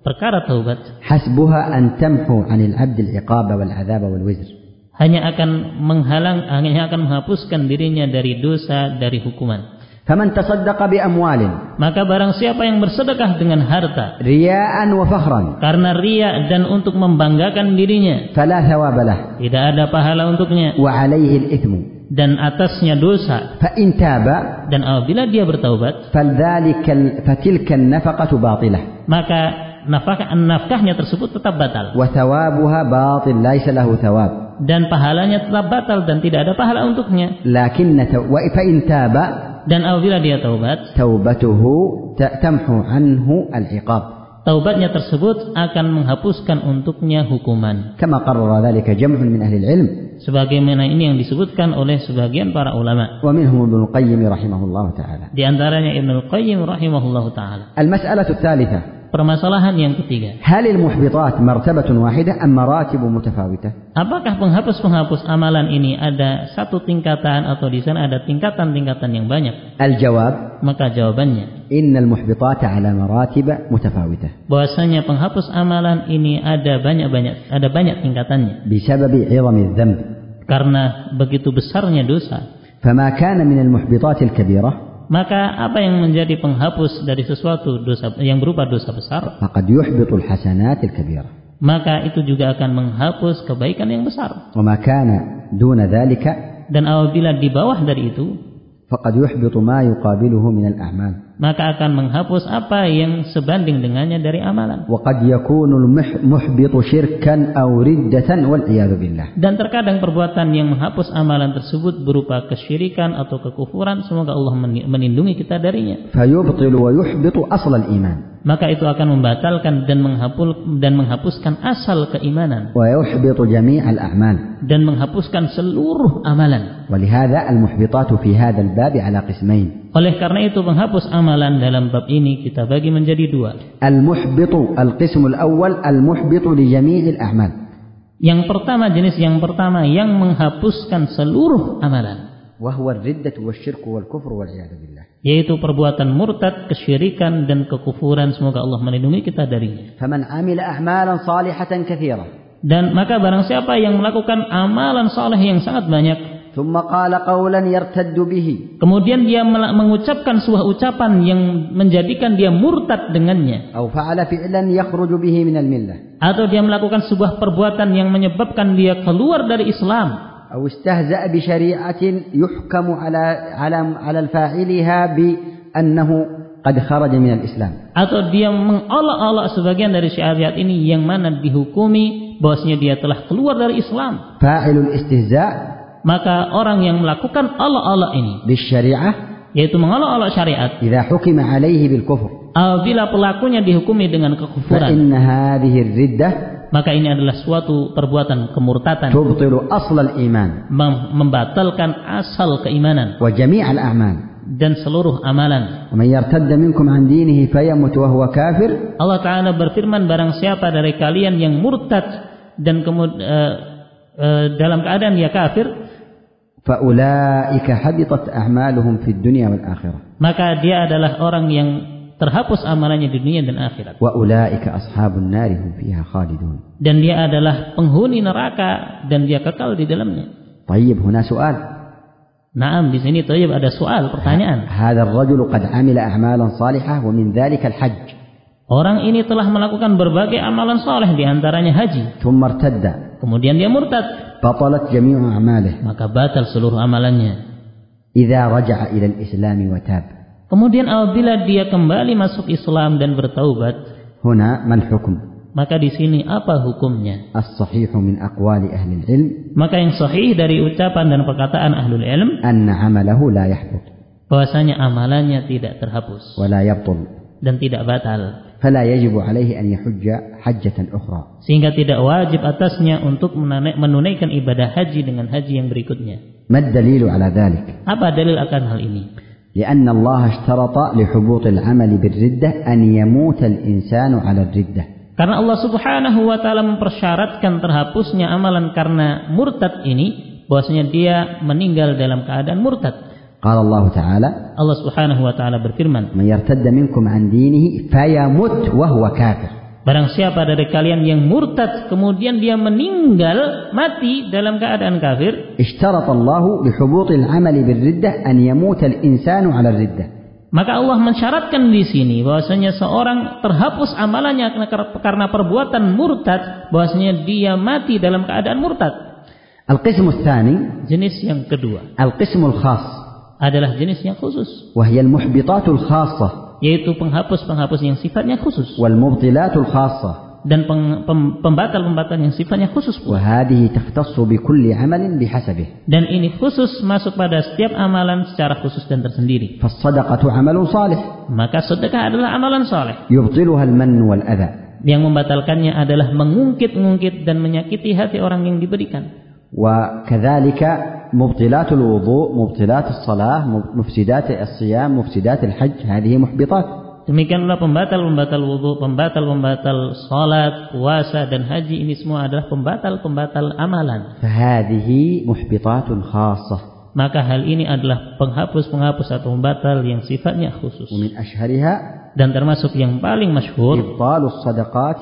Speaker 3: perkara taubat
Speaker 2: حسبها أن تمحو عن العبد العقاب والعذاب والوزر
Speaker 3: hanya akan menghalang hanya akan menghapuskan dirinya dari dosa dari hukuman
Speaker 2: فمن تصدق بأموال
Speaker 3: maka barang siapa yang bersedekah dengan harta
Speaker 2: رياء وفخرا
Speaker 3: karena ria dan untuk membanggakan dirinya
Speaker 2: فلا ثواب له
Speaker 3: tidak ada pahala untuknya
Speaker 2: وعليه الإثم
Speaker 3: dan atasnya dosa
Speaker 2: فإن تاب
Speaker 3: dan apabila dia bertaubat
Speaker 2: فذلك ال- فتلك النفقة باطلة
Speaker 3: maka nafkah nafkahnya tersebut tetap batal
Speaker 2: وثوابها باطل ليس له ثواب
Speaker 3: dan pahalanya tetap batal dan tidak ada pahala untuknya
Speaker 2: لكن تو- و- فإن تاب
Speaker 3: dan apabila dia taubat
Speaker 2: توبته ت- تمحو عنه العقاب
Speaker 3: taubatnya tersebut akan menghapuskan untuknya hukuman
Speaker 2: كما قرر ذلك جمع من أهل العلم
Speaker 3: sebagaimana ini yang disebutkan oleh sebagian para ulama.
Speaker 2: ومنهم ابن القيم رحمه الله تعالى
Speaker 3: Di antaranya Ibnu Qayyim rahimahullahu taala.
Speaker 2: المسألة الثالثة
Speaker 3: Permasalahan yang ketiga,
Speaker 2: هل المحبطات مرتبة واحدة أم مراتب متفاوتة
Speaker 3: apakah penghapus-penghapus amalan ini ada satu tingkatan atau di sana ada tingkatan-tingkatan yang banyak?
Speaker 2: الجواب
Speaker 3: Maka jawabannya
Speaker 2: إن المحبطات على مراتب متفاوتة
Speaker 3: bahwasanya penghapus amalan ini ada banyak-banyak ada banyak tingkatannya
Speaker 2: بسبب عظم الذنب
Speaker 3: karena begitu besarnya dosa
Speaker 2: فما كان من المحبطات الكبيرة
Speaker 3: maka apa yang menjadi penghapus dari sesuatu dosa yang berupa dosa besar
Speaker 2: فقد يحبط الحسنات الكبيرة
Speaker 3: maka itu juga akan menghapus kebaikan yang besar
Speaker 2: وما كان دون ذلك
Speaker 3: dan apabila di bawah dari itu
Speaker 2: فقد يحبط ما يقابله من الأعمال
Speaker 3: maka akan menghapus apa yang sebanding dengannya dari amalan
Speaker 2: وقد يكون المحبط شركا أو ردة والعياذ بالله
Speaker 3: dan terkadang perbuatan yang menghapus amalan tersebut berupa kesyirikan atau kekufuran semoga Allah meni- melindungi kita darinya
Speaker 2: فيبطل ويحبط أصل الإيمان
Speaker 3: maka itu akan membatalkan dan menghapul dan menghapuskan asal keimanan
Speaker 2: ويحبط جميع الأعمال
Speaker 3: dan menghapuskan seluruh amalan.
Speaker 2: ولهذا المحبطات في هذا الباب على قسمين
Speaker 3: Oleh karena itu penghapus amalan dalam bab ini kita bagi menjadi dua.
Speaker 2: المحبط القسم الأول المحبط لجميع الأعمال
Speaker 3: Yang pertama jenis yang pertama yang menghapuskan seluruh amalan,
Speaker 2: وهو الردة والشرك والكفر والعياذ بالله
Speaker 3: yaitu perbuatan murtad, kesyirikan dan kekufuran. Semoga Allah melindungi kita darinya.
Speaker 2: فمن عمل أعمالا صالحة كثيرة
Speaker 3: Dan maka barang siapa yang melakukan amalan saleh yang sangat banyak,
Speaker 2: ثم قال قولا يرتد به
Speaker 3: kemudian dia mela- mengucapkan sebuah ucapan yang menjadikan dia murtad dengannya,
Speaker 2: أو فعل فعلا يخرج به من الملة
Speaker 3: atau dia melakukan sebuah perbuatan yang menyebabkan dia keluar dari Islam
Speaker 2: أو استهزأ بشريعة يحكم على على على الفاعلها بأنه قد خرج من الإسلام
Speaker 3: atau dia mengolok-olok sebagian dari syariat ini yang mana dihukumi bahwasanya dia telah keluar dari Islam
Speaker 2: فاعل الاستهزاء
Speaker 3: maka orang yang melakukan olok-olok ini
Speaker 2: بالشريعة
Speaker 3: yaitu mengolok-olok syariat
Speaker 2: إذا حكم عليه بالكفر
Speaker 3: apabila pelakunya dihukumi dengan kekufuran
Speaker 2: فإن هذه الردة
Speaker 3: maka ini adalah suatu perbuatan kemurtatan
Speaker 2: تبطل أصل الإيمان
Speaker 3: mem- membatalkan asal keimanan
Speaker 2: وجميع الأعمال
Speaker 3: dan seluruh amalan
Speaker 2: ومن يرتد منكم عن دينه فيمت وهو كافر
Speaker 3: Allah Ta'ala berfirman barang siapa dari kalian yang murtad dan kemudian dalam keadaan dia kafir
Speaker 2: فأولئك حبطت أعمالهم في الدنيا والآخرة
Speaker 3: maka dia adalah orang yang terhapus amalannya di dunia dan akhirat
Speaker 2: وأولئك أصحاب النار هم فيها خالدون
Speaker 3: dan dia adalah penghuni neraka dan dia kekal di dalamnya
Speaker 2: طيب هنا سؤال
Speaker 3: Naam di sini Tayyib ada soal pertanyaan
Speaker 2: هذا الرجل قد عمل أعمالا صالحة ومن ذلك الحج
Speaker 3: orang ini telah melakukan berbagai amalan soleh di antaranya haji
Speaker 2: ثم ارتد
Speaker 3: kemudian dia murtad
Speaker 2: بطلت جميع أعماله
Speaker 3: maka batal seluruh amalannya
Speaker 2: إذا رجع إلى الإسلام وتاب
Speaker 3: kemudian apabila dia kembali masuk Islam dan bertaubat
Speaker 2: هنا ما الحكم
Speaker 3: Maka di sini apa hukumnya?
Speaker 2: الصحيح من أقوال أهل العلم
Speaker 3: Maka yang sahih dari ucapan dan perkataan ahlul ilm
Speaker 2: أن عمله لا يحبط
Speaker 3: bahwasanya amalannya tidak terhapus
Speaker 2: ولا يبطل
Speaker 3: dan tidak batal
Speaker 2: فلا يجب عليه أن يحج حجة أخرى
Speaker 3: sehingga tidak wajib atasnya untuk menane- menunaikan ibadah haji dengan haji yang berikutnya.
Speaker 2: ما الدليل على ذلك
Speaker 3: Apa dalil akan hal ini?
Speaker 2: لأن الله اشترط لحبوط العمل بالردة أن يموت الإنسان على الردة
Speaker 3: Karena Allah Subhanahu wa taala mempersyaratkan terhapusnya amalan karena murtad ini bahwasanya dia meninggal dalam keadaan murtad.
Speaker 2: قال الله تعالى
Speaker 3: Allah Subhanahu wa taala berfirman,
Speaker 2: من يرتد منكم عن دينه فيمت وهو كافر
Speaker 3: Barang siapa dari kalian yang murtad kemudian dia meninggal mati dalam keadaan kafir,
Speaker 2: اشترط الله لحبوط العمل بالردة أن يموت الإنسان على الردة
Speaker 3: maka Allah mensyaratkan di sini bahwasanya seorang terhapus amalannya karena- karena perbuatan murtad, bahwasanya dia mati dalam keadaan murtad.
Speaker 2: القسم الثاني
Speaker 3: Jenis yang kedua
Speaker 2: القسم الخاص
Speaker 3: adalah jenis yang khusus,
Speaker 2: وهي المحبطات الخاصة
Speaker 3: yaitu penghapus-penghapus yang sifatnya khusus
Speaker 2: والمبطلات الخاصة
Speaker 3: dan peng- pem- pembatal-pembatal yang sifatnya khusus pula.
Speaker 2: وهذه تختص بكل عمل بحسبه
Speaker 3: Dan ini khusus masuk pada setiap amalan secara khusus dan tersendiri.
Speaker 2: فالصدقة عمل صالح
Speaker 3: Maka sedekah adalah amalan soleh.
Speaker 2: يبطلها المن والأذى
Speaker 3: Yang membatalkannya adalah mengungkit-ungkit dan menyakiti hati orang yang diberikan.
Speaker 2: وكذلك مبطلات الوضوء مبطلات الصلاة مفسدات الصيام مفسدات الحج هذه محبطات
Speaker 3: Demikianlah pembatal-pembatal wudhu, pembatal-pembatal salat, puasa dan haji ini semua adalah pembatal-pembatal amalan.
Speaker 2: فهذه محبطات خاصة
Speaker 3: Maka hal ini adalah penghapus-penghapus atau pembatal yang sifatnya khusus.
Speaker 2: ومن أشهرها
Speaker 3: Dan termasuk yang paling masyhur
Speaker 2: إبطال الصدقات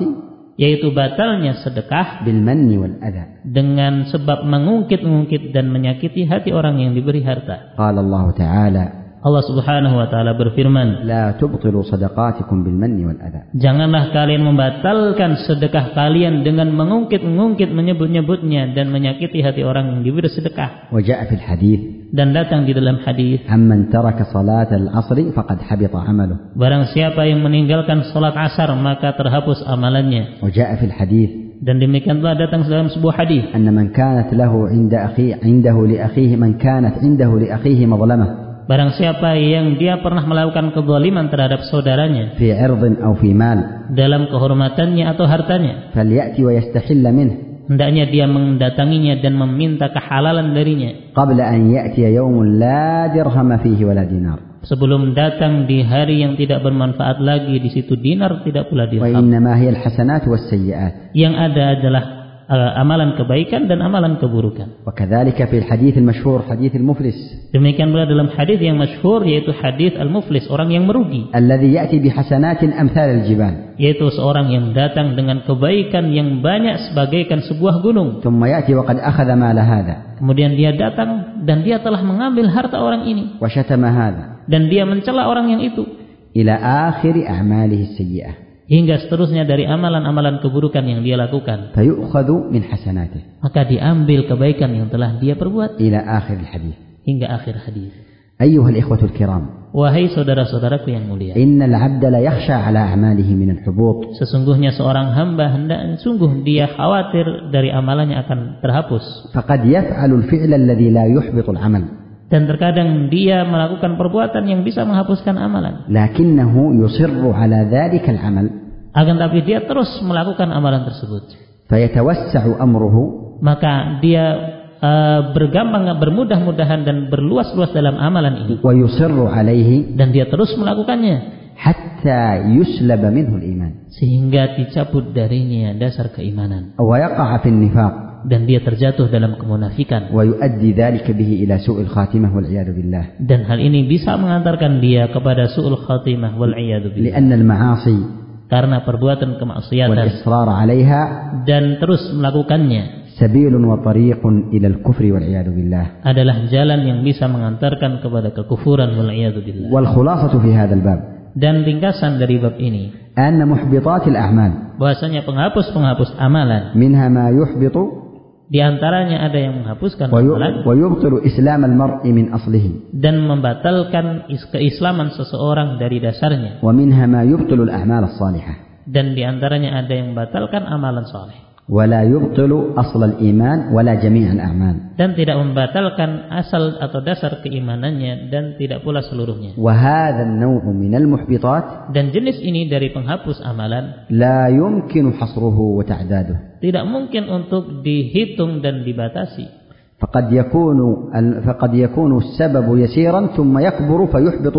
Speaker 3: yaitu batalnya sedekah
Speaker 2: بالمن والأذى
Speaker 3: dengan sebab mengungkit-ungkit dan menyakiti hati orang yang diberi harta.
Speaker 2: قال الله تعالى
Speaker 3: Allah Subhanahu wa taala berfirman,
Speaker 2: لا تبطلوا صدقاتكم بالمن والأذى
Speaker 3: "Janganlah kalian membatalkan sedekah kalian dengan mengungkit-ungkit menyebut-nyebutnya dan menyakiti hati orang yang diberi sedekah."
Speaker 2: وجاء في الحديث
Speaker 3: Dan datang di dalam hadis,
Speaker 2: عمن ترك صلاة العصر فقد حبط عمله
Speaker 3: barang siapa yang meninggalkan salat asar maka terhapus amalannya.
Speaker 2: وجاء في الحديث
Speaker 3: Dan demikian telah datang dalam sebuah hadis
Speaker 2: أن من كانت له عند أخيه عنده لأخيه من كانت عنده لأخيه مظلمة
Speaker 3: Barang siapa yang dia pernah melakukan kezaliman terhadap saudaranya
Speaker 2: في عرض أو في مال
Speaker 3: dalam kehormatannya atau hartanya,
Speaker 2: فليأتي ويستحل منه
Speaker 3: Hendaknya dia mendatanginya dan meminta kehalalan darinya
Speaker 2: قبل أن يأتي يوم لا درهم فيه ولا دينار
Speaker 3: sebelum datang di hari yang tidak bermanfaat lagi di situ dinar tidak pula dirham.
Speaker 2: وإنما هي الحسنات والسيئات
Speaker 3: Yang ada adalah eh, amalan kebaikan dan amalan keburukan.
Speaker 2: وكذلك في الحديث المشهور حديث المفلس
Speaker 3: Demikian pula dalam hadis yang masyhur yaitu hadis al-muflis orang yang merugi
Speaker 2: الذي يأتي بحسنات أمثال الجبال
Speaker 3: yaitu seorang yang datang dengan kebaikan yang banyak sebagaikan sebuah gunung.
Speaker 2: ثم يأتي وقد أخذ مال هذا
Speaker 3: Kemudian dia datang dan dia telah mengambil harta orang ini
Speaker 2: وشتم هذا
Speaker 3: dan dia mencela orang yang itu
Speaker 2: إلى آخر أعماله السيئة
Speaker 3: hingga seterusnya dari amalan-amalan keburukan yang dia lakukan
Speaker 2: فيؤخذ من حسناته
Speaker 3: maka diambil kebaikan yang telah dia perbuat
Speaker 2: إلى آخر الحديث
Speaker 3: hingga akhir hadis
Speaker 2: أيها الإخوة الكرام
Speaker 3: wahai saudara-saudaraku yang mulia
Speaker 2: إن العبد لا يخشى على أعماله من الحبوط
Speaker 3: sesungguhnya seorang hamba hendak sungguh dia khawatir dari amalannya akan terhapus
Speaker 2: فقد يفعل الفعل الذي لا يحبط العمل
Speaker 3: dan terkadang dia melakukan perbuatan yang bisa menghapuskan amalan
Speaker 2: لكنه يصر على ذلك العمل
Speaker 3: akan tapi dia terus melakukan amalan tersebut
Speaker 2: فيتوسع أمره
Speaker 3: maka dia eh, bergampang bermudah-mudahan dan berluas-luas dalam amalan ini
Speaker 2: ويصر عليه
Speaker 3: dan dia terus melakukannya
Speaker 2: حتى يسلب منه الإيمان
Speaker 3: sehingga dicabut darinya dasar keimanan
Speaker 2: ويقع في النفاق
Speaker 3: dan dia terjatuh dalam kemunafikan
Speaker 2: ويؤدي ذلك به إلى سوء الخاتمة والعياذ بالله
Speaker 3: dan hal ini bisa mengantarkan dia kepada su'ul khatimah wal iyadu billah.
Speaker 2: لأن المعاصي
Speaker 3: karena perbuatan kemaksiatan
Speaker 2: والإصرار عليها
Speaker 3: dan terus melakukannya
Speaker 2: سبيل وطريق إلى الكفر والعياذ بالله
Speaker 3: adalah jalan yang bisa mengantarkan kepada kekufuran wal iyadu billah.
Speaker 2: والخلاصة في هذا الباب
Speaker 3: dan ringkasan dari bab ini
Speaker 2: أن محبطات الأعمال
Speaker 3: bahwasanya penghapus-penghapus amalan
Speaker 2: منها ما يحبط
Speaker 3: di antaranya ada yang menghapuskan amalan
Speaker 2: وي- ويبطل إسلام المرء من أصله
Speaker 3: dan membatalkan is- keislaman seseorang dari dasarnya
Speaker 2: ومنها ما يبطل الأعمال الصالحة
Speaker 3: dan di antaranya ada yang membatalkan amalan soleh
Speaker 2: ولا يبطل أصل الإيمان ولا جميع الأعمال
Speaker 3: dan tidak membatalkan asal atau dasar keimanannya dan tidak pula seluruhnya.
Speaker 2: وهذا النوع من المحبطات
Speaker 3: Dan jenis ini dari penghapus amalan
Speaker 2: لا يمكن حصره وتعداده
Speaker 3: tidak mungkin untuk dihitung dan dibatasi.
Speaker 2: فقد يكون فقد يكون السبب يسيرا ثم يكبر فيحبط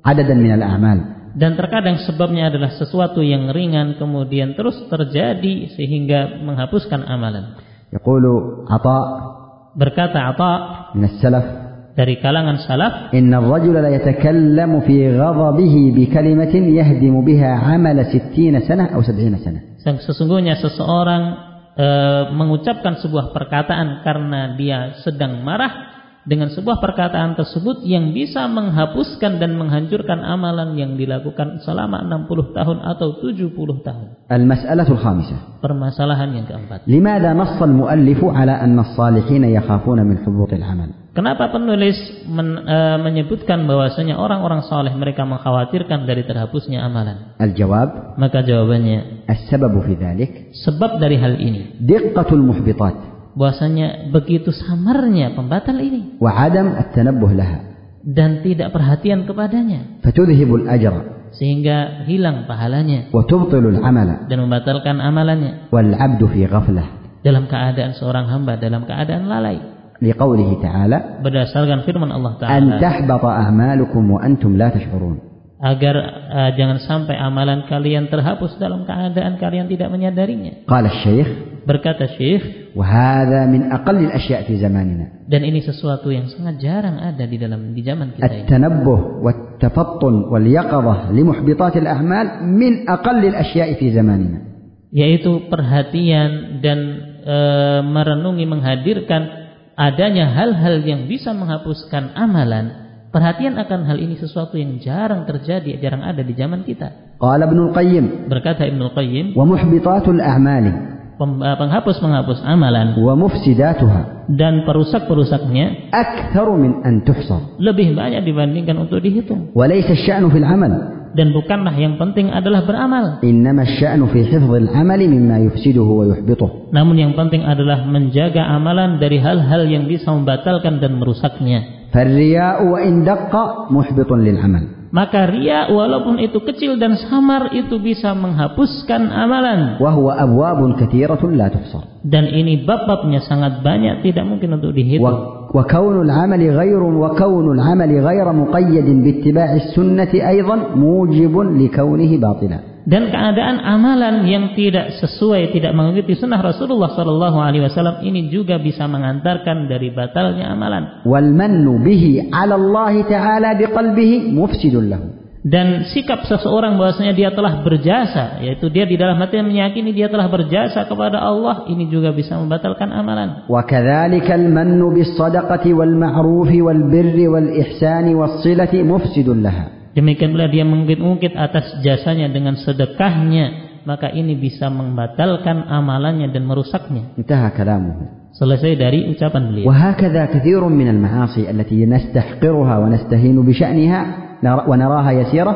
Speaker 2: عددا من الأعمال
Speaker 3: Dan terkadang sebabnya adalah sesuatu yang ringan kemudian terus terjadi sehingga menghapuskan amalan.
Speaker 2: يقول عطاء
Speaker 3: Berkata Atha
Speaker 2: من السلف
Speaker 3: dari kalangan salaf,
Speaker 2: إن الرجل لا يتكلم في غضبه بكلمة يهدم بها عمل ستين سنة أو سبعين سنة
Speaker 3: Yang sesungguhnya seseorang eh, mengucapkan sebuah perkataan karena dia sedang marah dengan sebuah perkataan tersebut yang bisa menghapuskan dan menghancurkan amalan yang dilakukan selama 60 tahun atau 70 tahun.
Speaker 2: المسألة الخامسة
Speaker 3: Permasalahan yang keempat.
Speaker 2: لماذا نص المؤلف على أن الصالحين يخافون من حبوط العمل
Speaker 3: Kenapa penulis men- eh, menyebutkan bahwasanya orang-orang saleh mereka mengkhawatirkan dari terhapusnya amalan?
Speaker 2: الجواب
Speaker 3: Maka jawabannya
Speaker 2: السبب في ذلك
Speaker 3: sebab dari hal ini
Speaker 2: دقة المحبطات
Speaker 3: bahwasanya begitu samarnya pembatal ini
Speaker 2: وعدم التنبه لها
Speaker 3: dan tidak perhatian kepadanya
Speaker 2: فتذهب الأجر
Speaker 3: sehingga hilang pahalanya
Speaker 2: وتبطل العمل
Speaker 3: dan membatalkan amalannya
Speaker 2: والعبد في غفلة
Speaker 3: dalam keadaan seorang hamba dalam keadaan lalai
Speaker 2: لقوله تعالى
Speaker 3: berdasarkan firman Allah taala
Speaker 2: أن تحبط أعمالكم وأنتم لا تشعرون
Speaker 3: agar eh, jangan sampai amalan kalian terhapus dalam keadaan kalian tidak menyadarinya
Speaker 2: قال الشيخ
Speaker 3: berkata Syekh
Speaker 2: وهذا من أقل الأشياء في زماننا
Speaker 3: dan ini sesuatu yang sangat jarang ada di dalam di zaman kita ini
Speaker 2: التنبه والتفطن واليقظة لمحبطات الأعمال من أقل الأشياء في زماننا
Speaker 3: yaitu perhatian dan eh, merenungi menghadirkan adanya hal-hal yang bisa menghapuskan amalan. Perhatian akan hal ini sesuatu yang jarang terjadi, jarang ada di zaman kita.
Speaker 2: قال ابن القيم
Speaker 3: Berkata Ibnu Qayyim,
Speaker 2: ومحبطات الأعمال
Speaker 3: pem- eh, penghapus menghapus amalan
Speaker 2: ومفسداتها
Speaker 3: dan perusak-perusaknya
Speaker 2: أكثر من أن تحصر
Speaker 3: lebih banyak dibandingkan untuk dihitung.
Speaker 2: وليس الشأن في العمل
Speaker 3: Dan bukanlah yang penting adalah beramal,
Speaker 2: إنما الشأن في حفظ العمل مما يفسده ويحبطه
Speaker 3: namun yang penting adalah menjaga amalan dari hal-hal yang bisa membatalkan dan merusaknya.
Speaker 2: فالرياء وإن دق محبط للعمل
Speaker 3: Maka ria walaupun itu kecil dan samar itu bisa menghapuskan amalan.
Speaker 2: وهو أبواب كثيرة لا تحصر
Speaker 3: Dan ini bab-babnya sangat banyak tidak mungkin untuk
Speaker 2: و-
Speaker 3: dihitung.
Speaker 2: وكون العمل غير وكون العمل غير مقيد باتباع السنة أيضا موجب لكونه باطلا
Speaker 3: Dan keadaan amalan yang tidak sesuai, tidak mengikuti sunnah Rasulullah Shallallahu Alaihi Wasallam ini juga bisa mengantarkan dari batalnya amalan.
Speaker 2: والمن به على الله تعالى بقلبه مفسد له
Speaker 3: Dan sikap seseorang bahwasanya dia telah berjasa, yaitu dia di dalam hati meyakini dia telah berjasa kepada Allah, ini juga bisa membatalkan amalan.
Speaker 2: وكذلك المن بالصدقة والمعروف والبر والإحسان والصلة مفسد لها
Speaker 3: Demikian pula dia mengungkit-ungkit atas jasanya dengan sedekahnya, maka ini bisa membatalkan amalannya dan merusaknya.
Speaker 2: انتهى كلامه
Speaker 3: Selesai dari ucapan beliau.
Speaker 2: وهكذا كثير من المعاصي التي نستحقرها ونستهين بشأنها نرى- ونراها يسيرة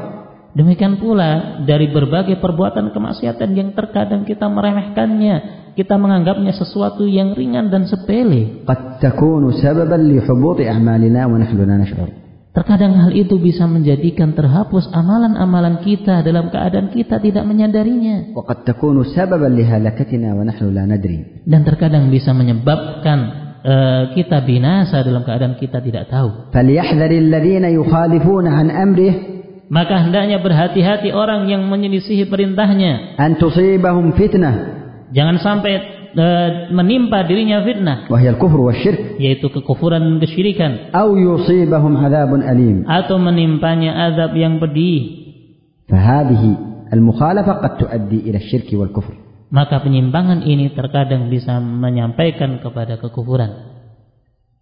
Speaker 3: Demikian pula dari berbagai perbuatan kemaksiatan yang terkadang kita meremehkannya, kita menganggapnya sesuatu yang ringan dan sepele.
Speaker 2: قد تكون سببا لحبوط أعمالنا ونحن لا نشعر
Speaker 3: Terkadang hal itu bisa menjadikan terhapus amalan-amalan kita dalam keadaan kita tidak menyadarinya.
Speaker 2: وقد تكون سببا لهلكتنا ونحن لا ندري
Speaker 3: Dan terkadang bisa menyebabkan eh, kita binasa dalam keadaan kita tidak tahu.
Speaker 2: فليحذر الذين يخالفون عن أمره
Speaker 3: Maka hendaknya berhati-hati orang yang menyelisihi perintahnya.
Speaker 2: أن تصيبهم فتنة
Speaker 3: Jangan sampai eh, menimpa dirinya fitnah,
Speaker 2: وهي الكفر والشرك
Speaker 3: yaitu kekufuran dan kesyirikan.
Speaker 2: أو يصيبهم عذاب أليم
Speaker 3: Atau menimpanya azab yang pedih.
Speaker 2: فهذه المخالفة قد تؤدي إلى الشرك والكفر
Speaker 3: Maka penyimpangan ini terkadang bisa menyampaikan kepada kekufuran.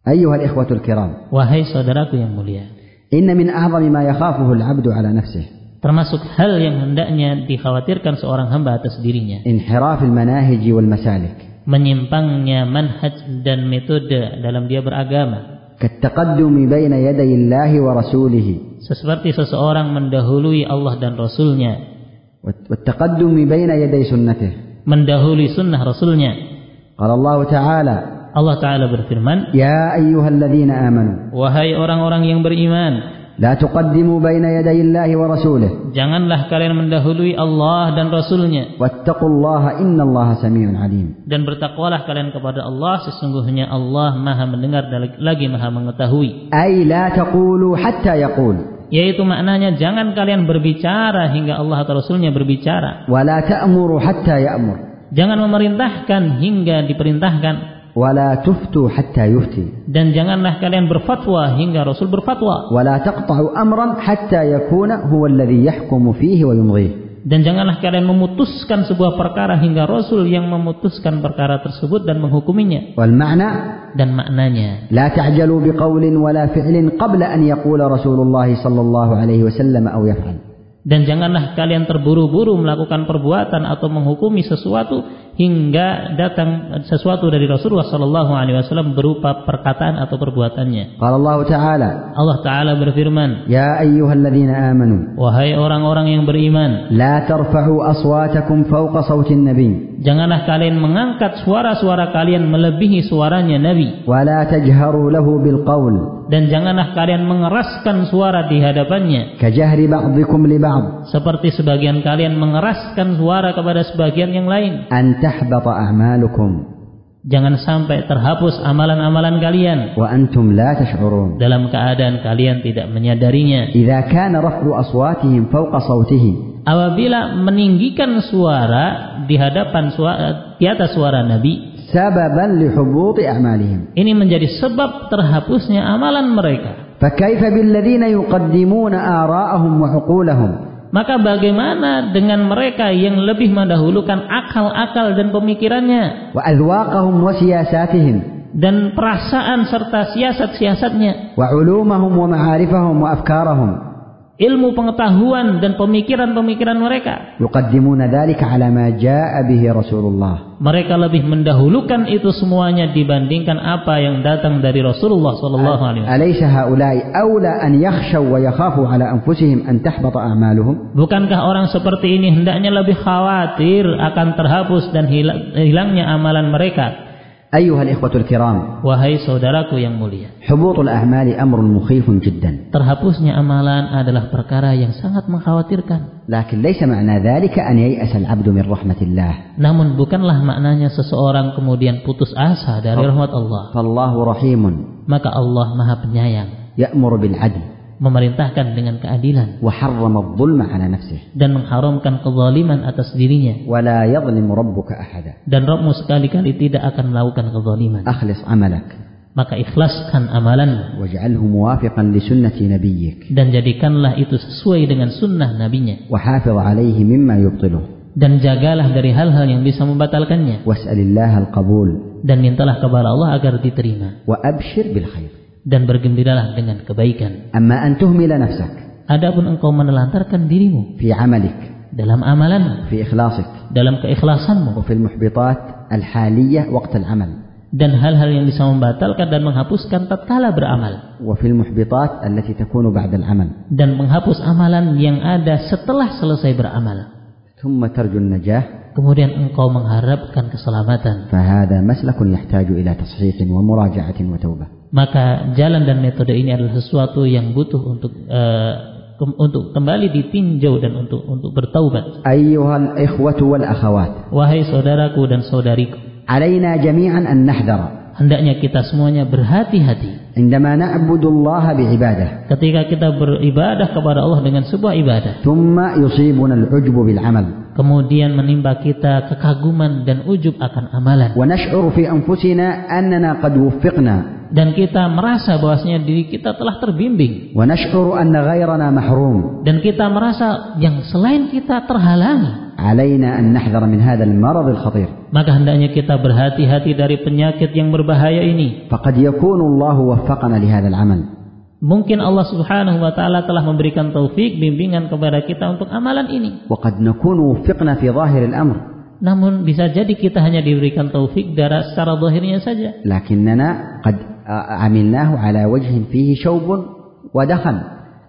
Speaker 2: أيها الإخوة الكرام
Speaker 3: Wahai saudaraku yang mulia.
Speaker 2: إن من أعظم ما يخافه العبد على نفسه
Speaker 3: Termasuk hal yang hendaknya dikhawatirkan seorang hamba atas dirinya.
Speaker 2: انحراف المناهج والمسالك
Speaker 3: Menyimpangnya manhaj dan metode dalam dia beragama.
Speaker 2: كالتقدم بين يدي الله ورسوله
Speaker 3: Seperti seseorang mendahului Allah dan Rasulnya
Speaker 2: والتقدم بين يدي سنته
Speaker 3: mendahului sunnah Rasulnya.
Speaker 2: قال الله تعالى
Speaker 3: Allah Ta'ala berfirman,
Speaker 2: يا أيها الذين آمنوا
Speaker 3: Wahai orang-orang yang beriman,
Speaker 2: لا تقدموا بين يدي الله ورسوله
Speaker 3: janganlah kalian mendahului Allah dan Rasulnya.
Speaker 2: واتقوا الله إن الله سميع عليم
Speaker 3: Dan bertakwalah kalian kepada Allah, sesungguhnya Allah maha mendengar dan lagi maha mengetahui.
Speaker 2: أي لا تقولوا حتى يقول
Speaker 3: Yaitu maknanya jangan kalian berbicara hingga Allah atau Rasulnya berbicara.
Speaker 2: ولا تأمروا حتى يأمر
Speaker 3: Jangan memerintahkan hingga diperintahkan.
Speaker 2: ولا تفتوا حتى يفتي
Speaker 3: Dan janganlah kalian berfatwa hingga Rasul berfatwa.
Speaker 2: ولا تقطعوا أمرا حتى يكون هو الذي يحكم فيه ويمضيه
Speaker 3: Dan janganlah kalian memutuskan sebuah perkara hingga Rasul yang memutuskan perkara tersebut dan menghukuminya.
Speaker 2: والمعنى
Speaker 3: Dan maknanya,
Speaker 2: لا تعجلوا بقول ولا فعل قبل أن يقول رسول الله صلى الله عليه وسلم أو يفعل
Speaker 3: dan janganlah kalian terburu-buru melakukan perbuatan atau menghukumi sesuatu hingga datang sesuatu dari Rasulullah Shallallahu Alaihi Wasallam berupa perkataan atau perbuatannya.
Speaker 2: قال الله تعالى
Speaker 3: Allah Taala berfirman,
Speaker 2: يا أيها الذين آمنوا
Speaker 3: wahai orang-orang yang beriman,
Speaker 2: لا ترفعوا أصواتكم فوق صوت النبي
Speaker 3: janganlah kalian mengangkat suara-suara kalian melebihi suaranya Nabi,
Speaker 2: ولا تجهروا له بالقول
Speaker 3: dan janganlah kalian mengeraskan suara di hadapannya.
Speaker 2: كجهر بعضكم لبعض
Speaker 3: seperti sebagian kalian mengeraskan suara kepada sebagian yang lain
Speaker 2: أن تحبط أعمالكم
Speaker 3: Jangan sampai terhapus amalan-amalan kalian
Speaker 2: وأنتم لا تشعرون
Speaker 3: dalam keadaan kalian tidak menyadarinya.
Speaker 2: إذا كان رفع أصواتهم فوق صوته
Speaker 3: Apabila meninggikan suara di hadapan suara di atas suara Nabi,
Speaker 2: سببا لحبوط أعمالهم
Speaker 3: ini menjadi sebab terhapusnya amalan mereka.
Speaker 2: فكيف بالذين يقدمون آراءهم وعقولهم
Speaker 3: Maka bagaimana dengan mereka yang lebih mendahulukan akal-akal dan pemikirannya
Speaker 2: وأذواقهم وسياساتهم
Speaker 3: dan perasaan serta siasat-siasatnya,
Speaker 2: وعلومهم ومعارفهم وأفكارهم
Speaker 3: ilmu pengetahuan dan pemikiran-pemikiran mereka?
Speaker 2: يقدمون ذلك على ما جاء به رسول الله
Speaker 3: Mereka lebih mendahulukan itu semuanya dibandingkan apa yang datang dari Rasulullah Sallallahu Alaihi Wasallam.
Speaker 2: أليس هؤلاء أولى أن يخشوا ويخافوا على أنفسهم أن تحبط أعمالهم
Speaker 3: Bukankah orang seperti ini hendaknya lebih khawatir akan terhapus dan hila- hilangnya amalan mereka?
Speaker 2: أيها الإخوة الكرام
Speaker 3: Wahai saudaraku yang mulia,
Speaker 2: حبوط الأعمال أمر مخيف جدا
Speaker 3: terhapusnya amalan adalah perkara yang sangat mengkhawatirkan.
Speaker 2: لكن ليس معنى ذلك أن ييأس العبد من رحمة الله
Speaker 3: Namun bukanlah maknanya seseorang kemudian putus asa dari rahmat Allah.
Speaker 2: فالله رحيم
Speaker 3: Maka Allah Maha Penyayang,
Speaker 2: يأمر بالعدل
Speaker 3: memerintahkan dengan keadilan
Speaker 2: وحرم الظلم على نفسه
Speaker 3: dan mengharamkan kezaliman atas dirinya.
Speaker 2: ولا يظلم ربك أحدا
Speaker 3: dan Rabbmu sekali-kali tidak akan melakukan kezaliman.
Speaker 2: أخلص عملك
Speaker 3: Maka ikhlaskan amalanmu
Speaker 2: واجعله موافقا لسنة نبيك
Speaker 3: dan jadikanlah itu sesuai dengan sunnah nabinya
Speaker 2: وحافظ عليه مما يبطله
Speaker 3: dan jagalah dari hal-hal yang bisa membatalkannya
Speaker 2: واسأل الله القبول
Speaker 3: dan mintalah kepada Allah agar diterima
Speaker 2: وأبشر بالخير
Speaker 3: dan bergembiralah dengan kebaikan.
Speaker 2: أما أن تهمل نفسك
Speaker 3: Adapun engkau menelantarkan dirimu
Speaker 2: في عملك
Speaker 3: dalam amalanmu,
Speaker 2: في إخلاصك
Speaker 3: dalam keikhlasanmu
Speaker 2: وفي المحبطات الحالية وقت العمل
Speaker 3: dan hal-hal yang bisa membatalkan dan menghapuskan tatkala beramal
Speaker 2: وفي المحبطات التي تكون بعد العمل
Speaker 3: dan menghapus amalan yang ada setelah selesai beramal.
Speaker 2: ثم ترجو النجاة
Speaker 3: Kemudian engkau mengharapkan keselamatan
Speaker 2: فهذا مسلك يحتاج إلى تصحيح ومراجعة وتوبة
Speaker 3: maka jalan dan metode ini adalah sesuatu yang butuh untuk eh, kem- untuk kembali ditinjau dan untuk untuk bertaubat.
Speaker 2: أيها الإخوة والأخوات
Speaker 3: Wahai saudaraku dan saudariku,
Speaker 2: علينا جميعا أن نحذر
Speaker 3: hendaknya kita semuanya berhati-hati
Speaker 2: عندما نعبد الله بعبادة
Speaker 3: ketika kita beribadah kepada Allah dengan sebuah ibadah,
Speaker 2: ثم يصيبنا العجب بالعمل
Speaker 3: kemudian menimpa kita kekaguman dan ujub akan amalan
Speaker 2: ونشعر في أنفسنا أننا قد وفقنا
Speaker 3: dan kita merasa bahwasanya diri kita telah terbimbing
Speaker 2: ونشعر أن غيرنا محروم
Speaker 3: dan kita merasa yang selain kita terhalangi.
Speaker 2: علينا أن نحذر من هذا المرض الخطير
Speaker 3: Maka hendaknya kita berhati-hati dari penyakit yang berbahaya ini.
Speaker 2: فقد يكون الله وفقنا لهذا العمل
Speaker 3: Mungkin Allah Subhanahu wa taala telah memberikan taufik bimbingan kepada kita untuk amalan ini.
Speaker 2: وقد نكون وفقنا في ظاهر الأمر
Speaker 3: Namun bisa jadi kita hanya diberikan taufik dari secara zahirnya saja,
Speaker 2: لكننا قد عملناه على وجه فيه شوب ودخن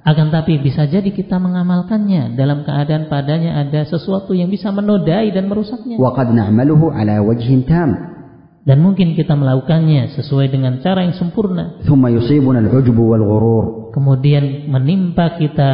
Speaker 3: akan tapi bisa jadi kita mengamalkannya dalam keadaan padanya ada sesuatu yang bisa menodai dan merusaknya.
Speaker 2: وقد نعمله على وجه تام
Speaker 3: Dan mungkin kita melakukannya sesuai dengan cara yang sempurna.
Speaker 2: ثم يصيبنا العجب والغرور
Speaker 3: Kemudian menimpa kita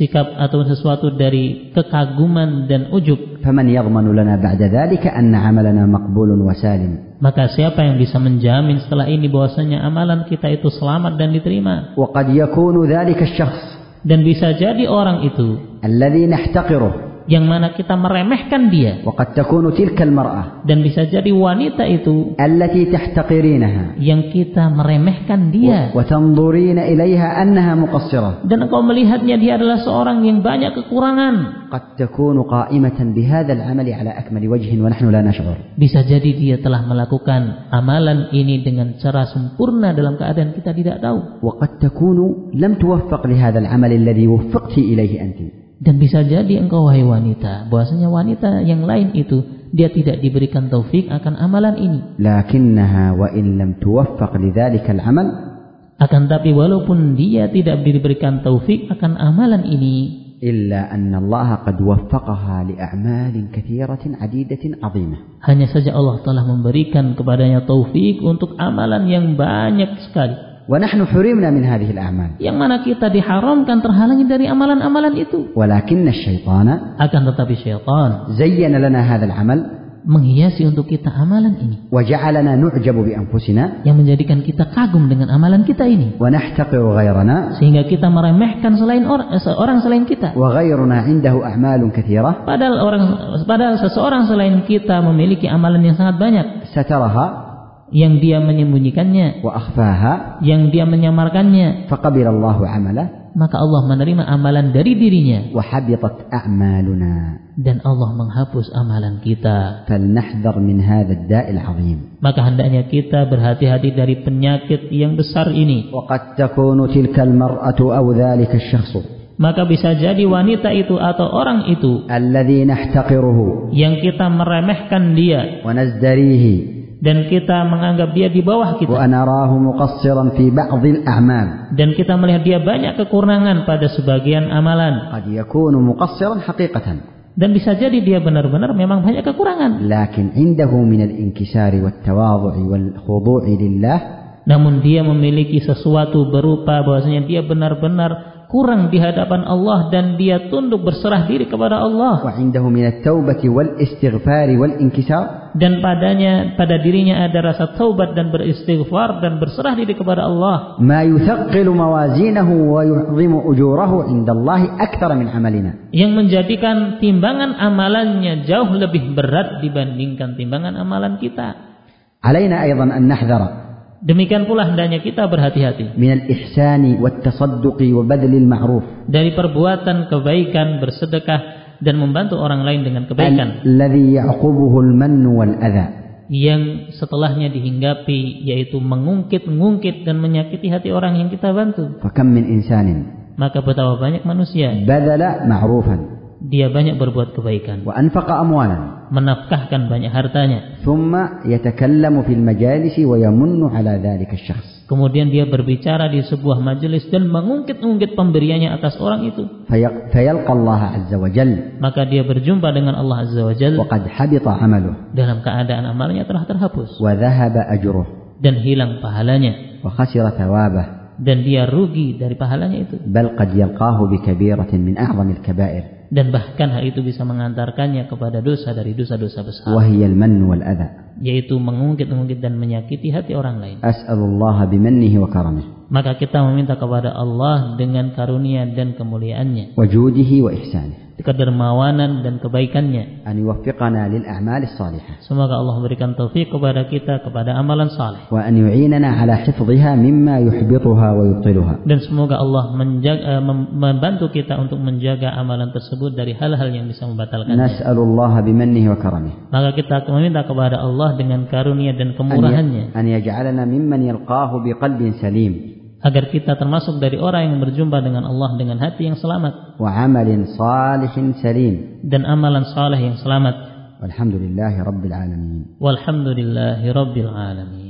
Speaker 3: sikap atau sesuatu dari kekaguman dan ujub.
Speaker 2: فمن يضمن لنا بعد ذلك أن عملنا مقبول وسالم
Speaker 3: Maka siapa yang bisa menjamin setelah ini bahwasanya amalan kita itu selamat dan diterima?
Speaker 2: وقد يكون ذلك الشخص
Speaker 3: Dan bisa jadi orang itu
Speaker 2: الذي نحتقره
Speaker 3: yang mana kita meremehkan dia
Speaker 2: وقد تكون تلك المرأة
Speaker 3: dan bisa jadi wanita itu
Speaker 2: التي تحتقرينها
Speaker 3: yang kita meremehkan dia
Speaker 2: وتنظرين إليها أنها مقصرة
Speaker 3: dan engkau melihatnya dia adalah seorang yang banyak kekurangan
Speaker 2: قد تكون قائمة بهذا العمل على أكمل وجه ونحن لا نشعر
Speaker 3: bisa jadi dia telah melakukan amalan ini dengan cara sempurna dalam keadaan kita tidak tahu
Speaker 2: وقد تكون لم توفق لهذا العمل الذي وفقت إليه أنت
Speaker 3: dan bisa jadi engkau wahai wanita bahwasanya wanita yang lain itu dia tidak diberikan taufik akan amalan ini
Speaker 2: لكنها وإن لم توفق لذلك العمل
Speaker 3: akan tapi walaupun dia tidak diberikan taufik akan amalan ini
Speaker 2: إلا أن الله قد وفقها لأعمال كثيرة عديدة عظيمة
Speaker 3: Hanya saja Allah telah memberikan kepadanya taufik untuk amalan yang banyak sekali.
Speaker 2: ونحن حرمنا من هذه الأعمال
Speaker 3: Yang mana kita diharamkan terhalangi dari amalan-amalan itu.
Speaker 2: ولكن الشيطان
Speaker 3: Akan tetapi syaitan
Speaker 2: زين لنا هذا العمل
Speaker 3: menghiasi untuk kita amalan ini
Speaker 2: وجعلنا نعجب بأنفسنا
Speaker 3: yang menjadikan kita kagum dengan amalan kita ini
Speaker 2: ونحتقر غيرنا
Speaker 3: sehingga kita meremehkan selain or- eh, seorang selain kita
Speaker 2: وغيرنا عنده أعمال كثيرة
Speaker 3: padahal orang padahal seseorang selain kita memiliki amalan yang sangat banyak
Speaker 2: سترها
Speaker 3: yang dia menyembunyikannya
Speaker 2: وأخفاها
Speaker 3: yang dia menyamarkannya
Speaker 2: فقبل الله عمله
Speaker 3: maka Allah menerima amalan dari dirinya
Speaker 2: وحبطت أعمالنا
Speaker 3: dan Allah menghapus amalan kita
Speaker 2: فلنحذر من هذا الداء العظيم
Speaker 3: maka hendaknya kita berhati-hati dari penyakit yang besar ini
Speaker 2: وقد تكون تلك المرأة أو ذلك الشخص
Speaker 3: maka bisa jadi wanita itu atau orang itu
Speaker 2: الذي نحتقره
Speaker 3: yang kita meremehkan dia
Speaker 2: ونزدريه
Speaker 3: dan kita menganggap dia di bawah kita
Speaker 2: ونراه مقصرا في بعض الأعمال
Speaker 3: dan kita melihat dia banyak kekurangan pada sebagian amalan
Speaker 2: قد يكون مقصرا حقيقة
Speaker 3: dan bisa jadi dia benar-benar memang banyak kekurangan
Speaker 2: لكن عنده من الانكسار والتواضع والخضوع لله
Speaker 3: namun dia memiliki sesuatu berupa bahwasanya dia benar-benar kurang di hadapan Allah dan dia tunduk berserah diri kepada Allah
Speaker 2: وعنده من التوبة والاستغفار والانكسار
Speaker 3: dan padanya pada dirinya ada rasa taubat dan beristighfar dan berserah diri kepada Allah
Speaker 2: ما يثقل موازينه ويعظم أجوره عند الله أكثر من عملنا
Speaker 3: yang menjadikan timbangan amalannya jauh lebih berat dibandingkan timbangan amalan kita
Speaker 2: علينا أيضا أن نحذر
Speaker 3: demikian pula hendaknya kita berhati-hati
Speaker 2: من الإحسان والتصدق وبذل المعروف
Speaker 3: dari perbuatan kebaikan bersedekah dan membantu orang lain dengan kebaikan
Speaker 2: الذي يعقبه المن والأذى
Speaker 3: yang setelahnya dihinggapi yaitu mengungkit-ngungkit dan menyakiti hati orang yang kita bantu
Speaker 2: فكم من إنسان
Speaker 3: maka betapa banyak manusia
Speaker 2: بذل معروفا
Speaker 3: dia banyak berbuat kebaikan
Speaker 2: وأنفق أموالا
Speaker 3: menafkahkan banyak hartanya
Speaker 2: ثم يتكلم في المجالس ويمن على ذلك الشخص
Speaker 3: Kemudian dia berbicara di sebuah majelis dan mengungkit-ungkit pemberiannya atas orang itu.
Speaker 2: في- فيلقى الله عز وجل
Speaker 3: Maka dia berjumpa dengan Allah Azza wa Jal
Speaker 2: وقد حبط عمله
Speaker 3: dalam keadaan amalnya telah terhapus.
Speaker 2: وذهب أجره
Speaker 3: Dan hilang pahalanya.
Speaker 2: وخسر ثوابه
Speaker 3: Dan dia rugi dari pahalanya itu.
Speaker 2: بل قد يلقاه بكبيرة من أعظم الكبائر
Speaker 3: Dan bahkan hal itu bisa mengantarkannya kepada dosa dari dosa-dosa besar.
Speaker 2: وهي المن والأذى
Speaker 3: Yaitu mengungkit-ungkit dan menyakiti hati orang lain.
Speaker 2: أسأل الله بمنه وكرمه
Speaker 3: Maka kita meminta kepada Allah dengan karunia dan kemuliaannya.
Speaker 2: وجوده وإحسانه
Speaker 3: Kedermawanan dan kebaikannya.
Speaker 2: أن يوفقنا للأعمال الصالحة
Speaker 3: Semoga Allah memberikan taufik kepada kita kepada amalan saleh.
Speaker 2: وأن يعيننا على حفظها مما يحبطها ويبطلها
Speaker 3: dan semoga Allah menjaga, eh, mem- membantu kita untuk menjaga amalan tersebut dari hal-hal yang bisa membatalkannya.
Speaker 2: نسأل الله بمنه وكرمه
Speaker 3: Maka kita meminta kepada Allah dengan karunia
Speaker 2: أن
Speaker 3: dan kemurahannya
Speaker 2: أن يجعلنا ممن يلقاه بقلب سليم
Speaker 3: agar kita termasuk dari orang yang berjumpa dengan Allah dengan hati yang selamat
Speaker 2: وعمل صالح سليم
Speaker 3: dan amalan saleh yang selamat.
Speaker 2: والحمد لله رب العالمين
Speaker 3: Walhamdulillahirabbil alamin.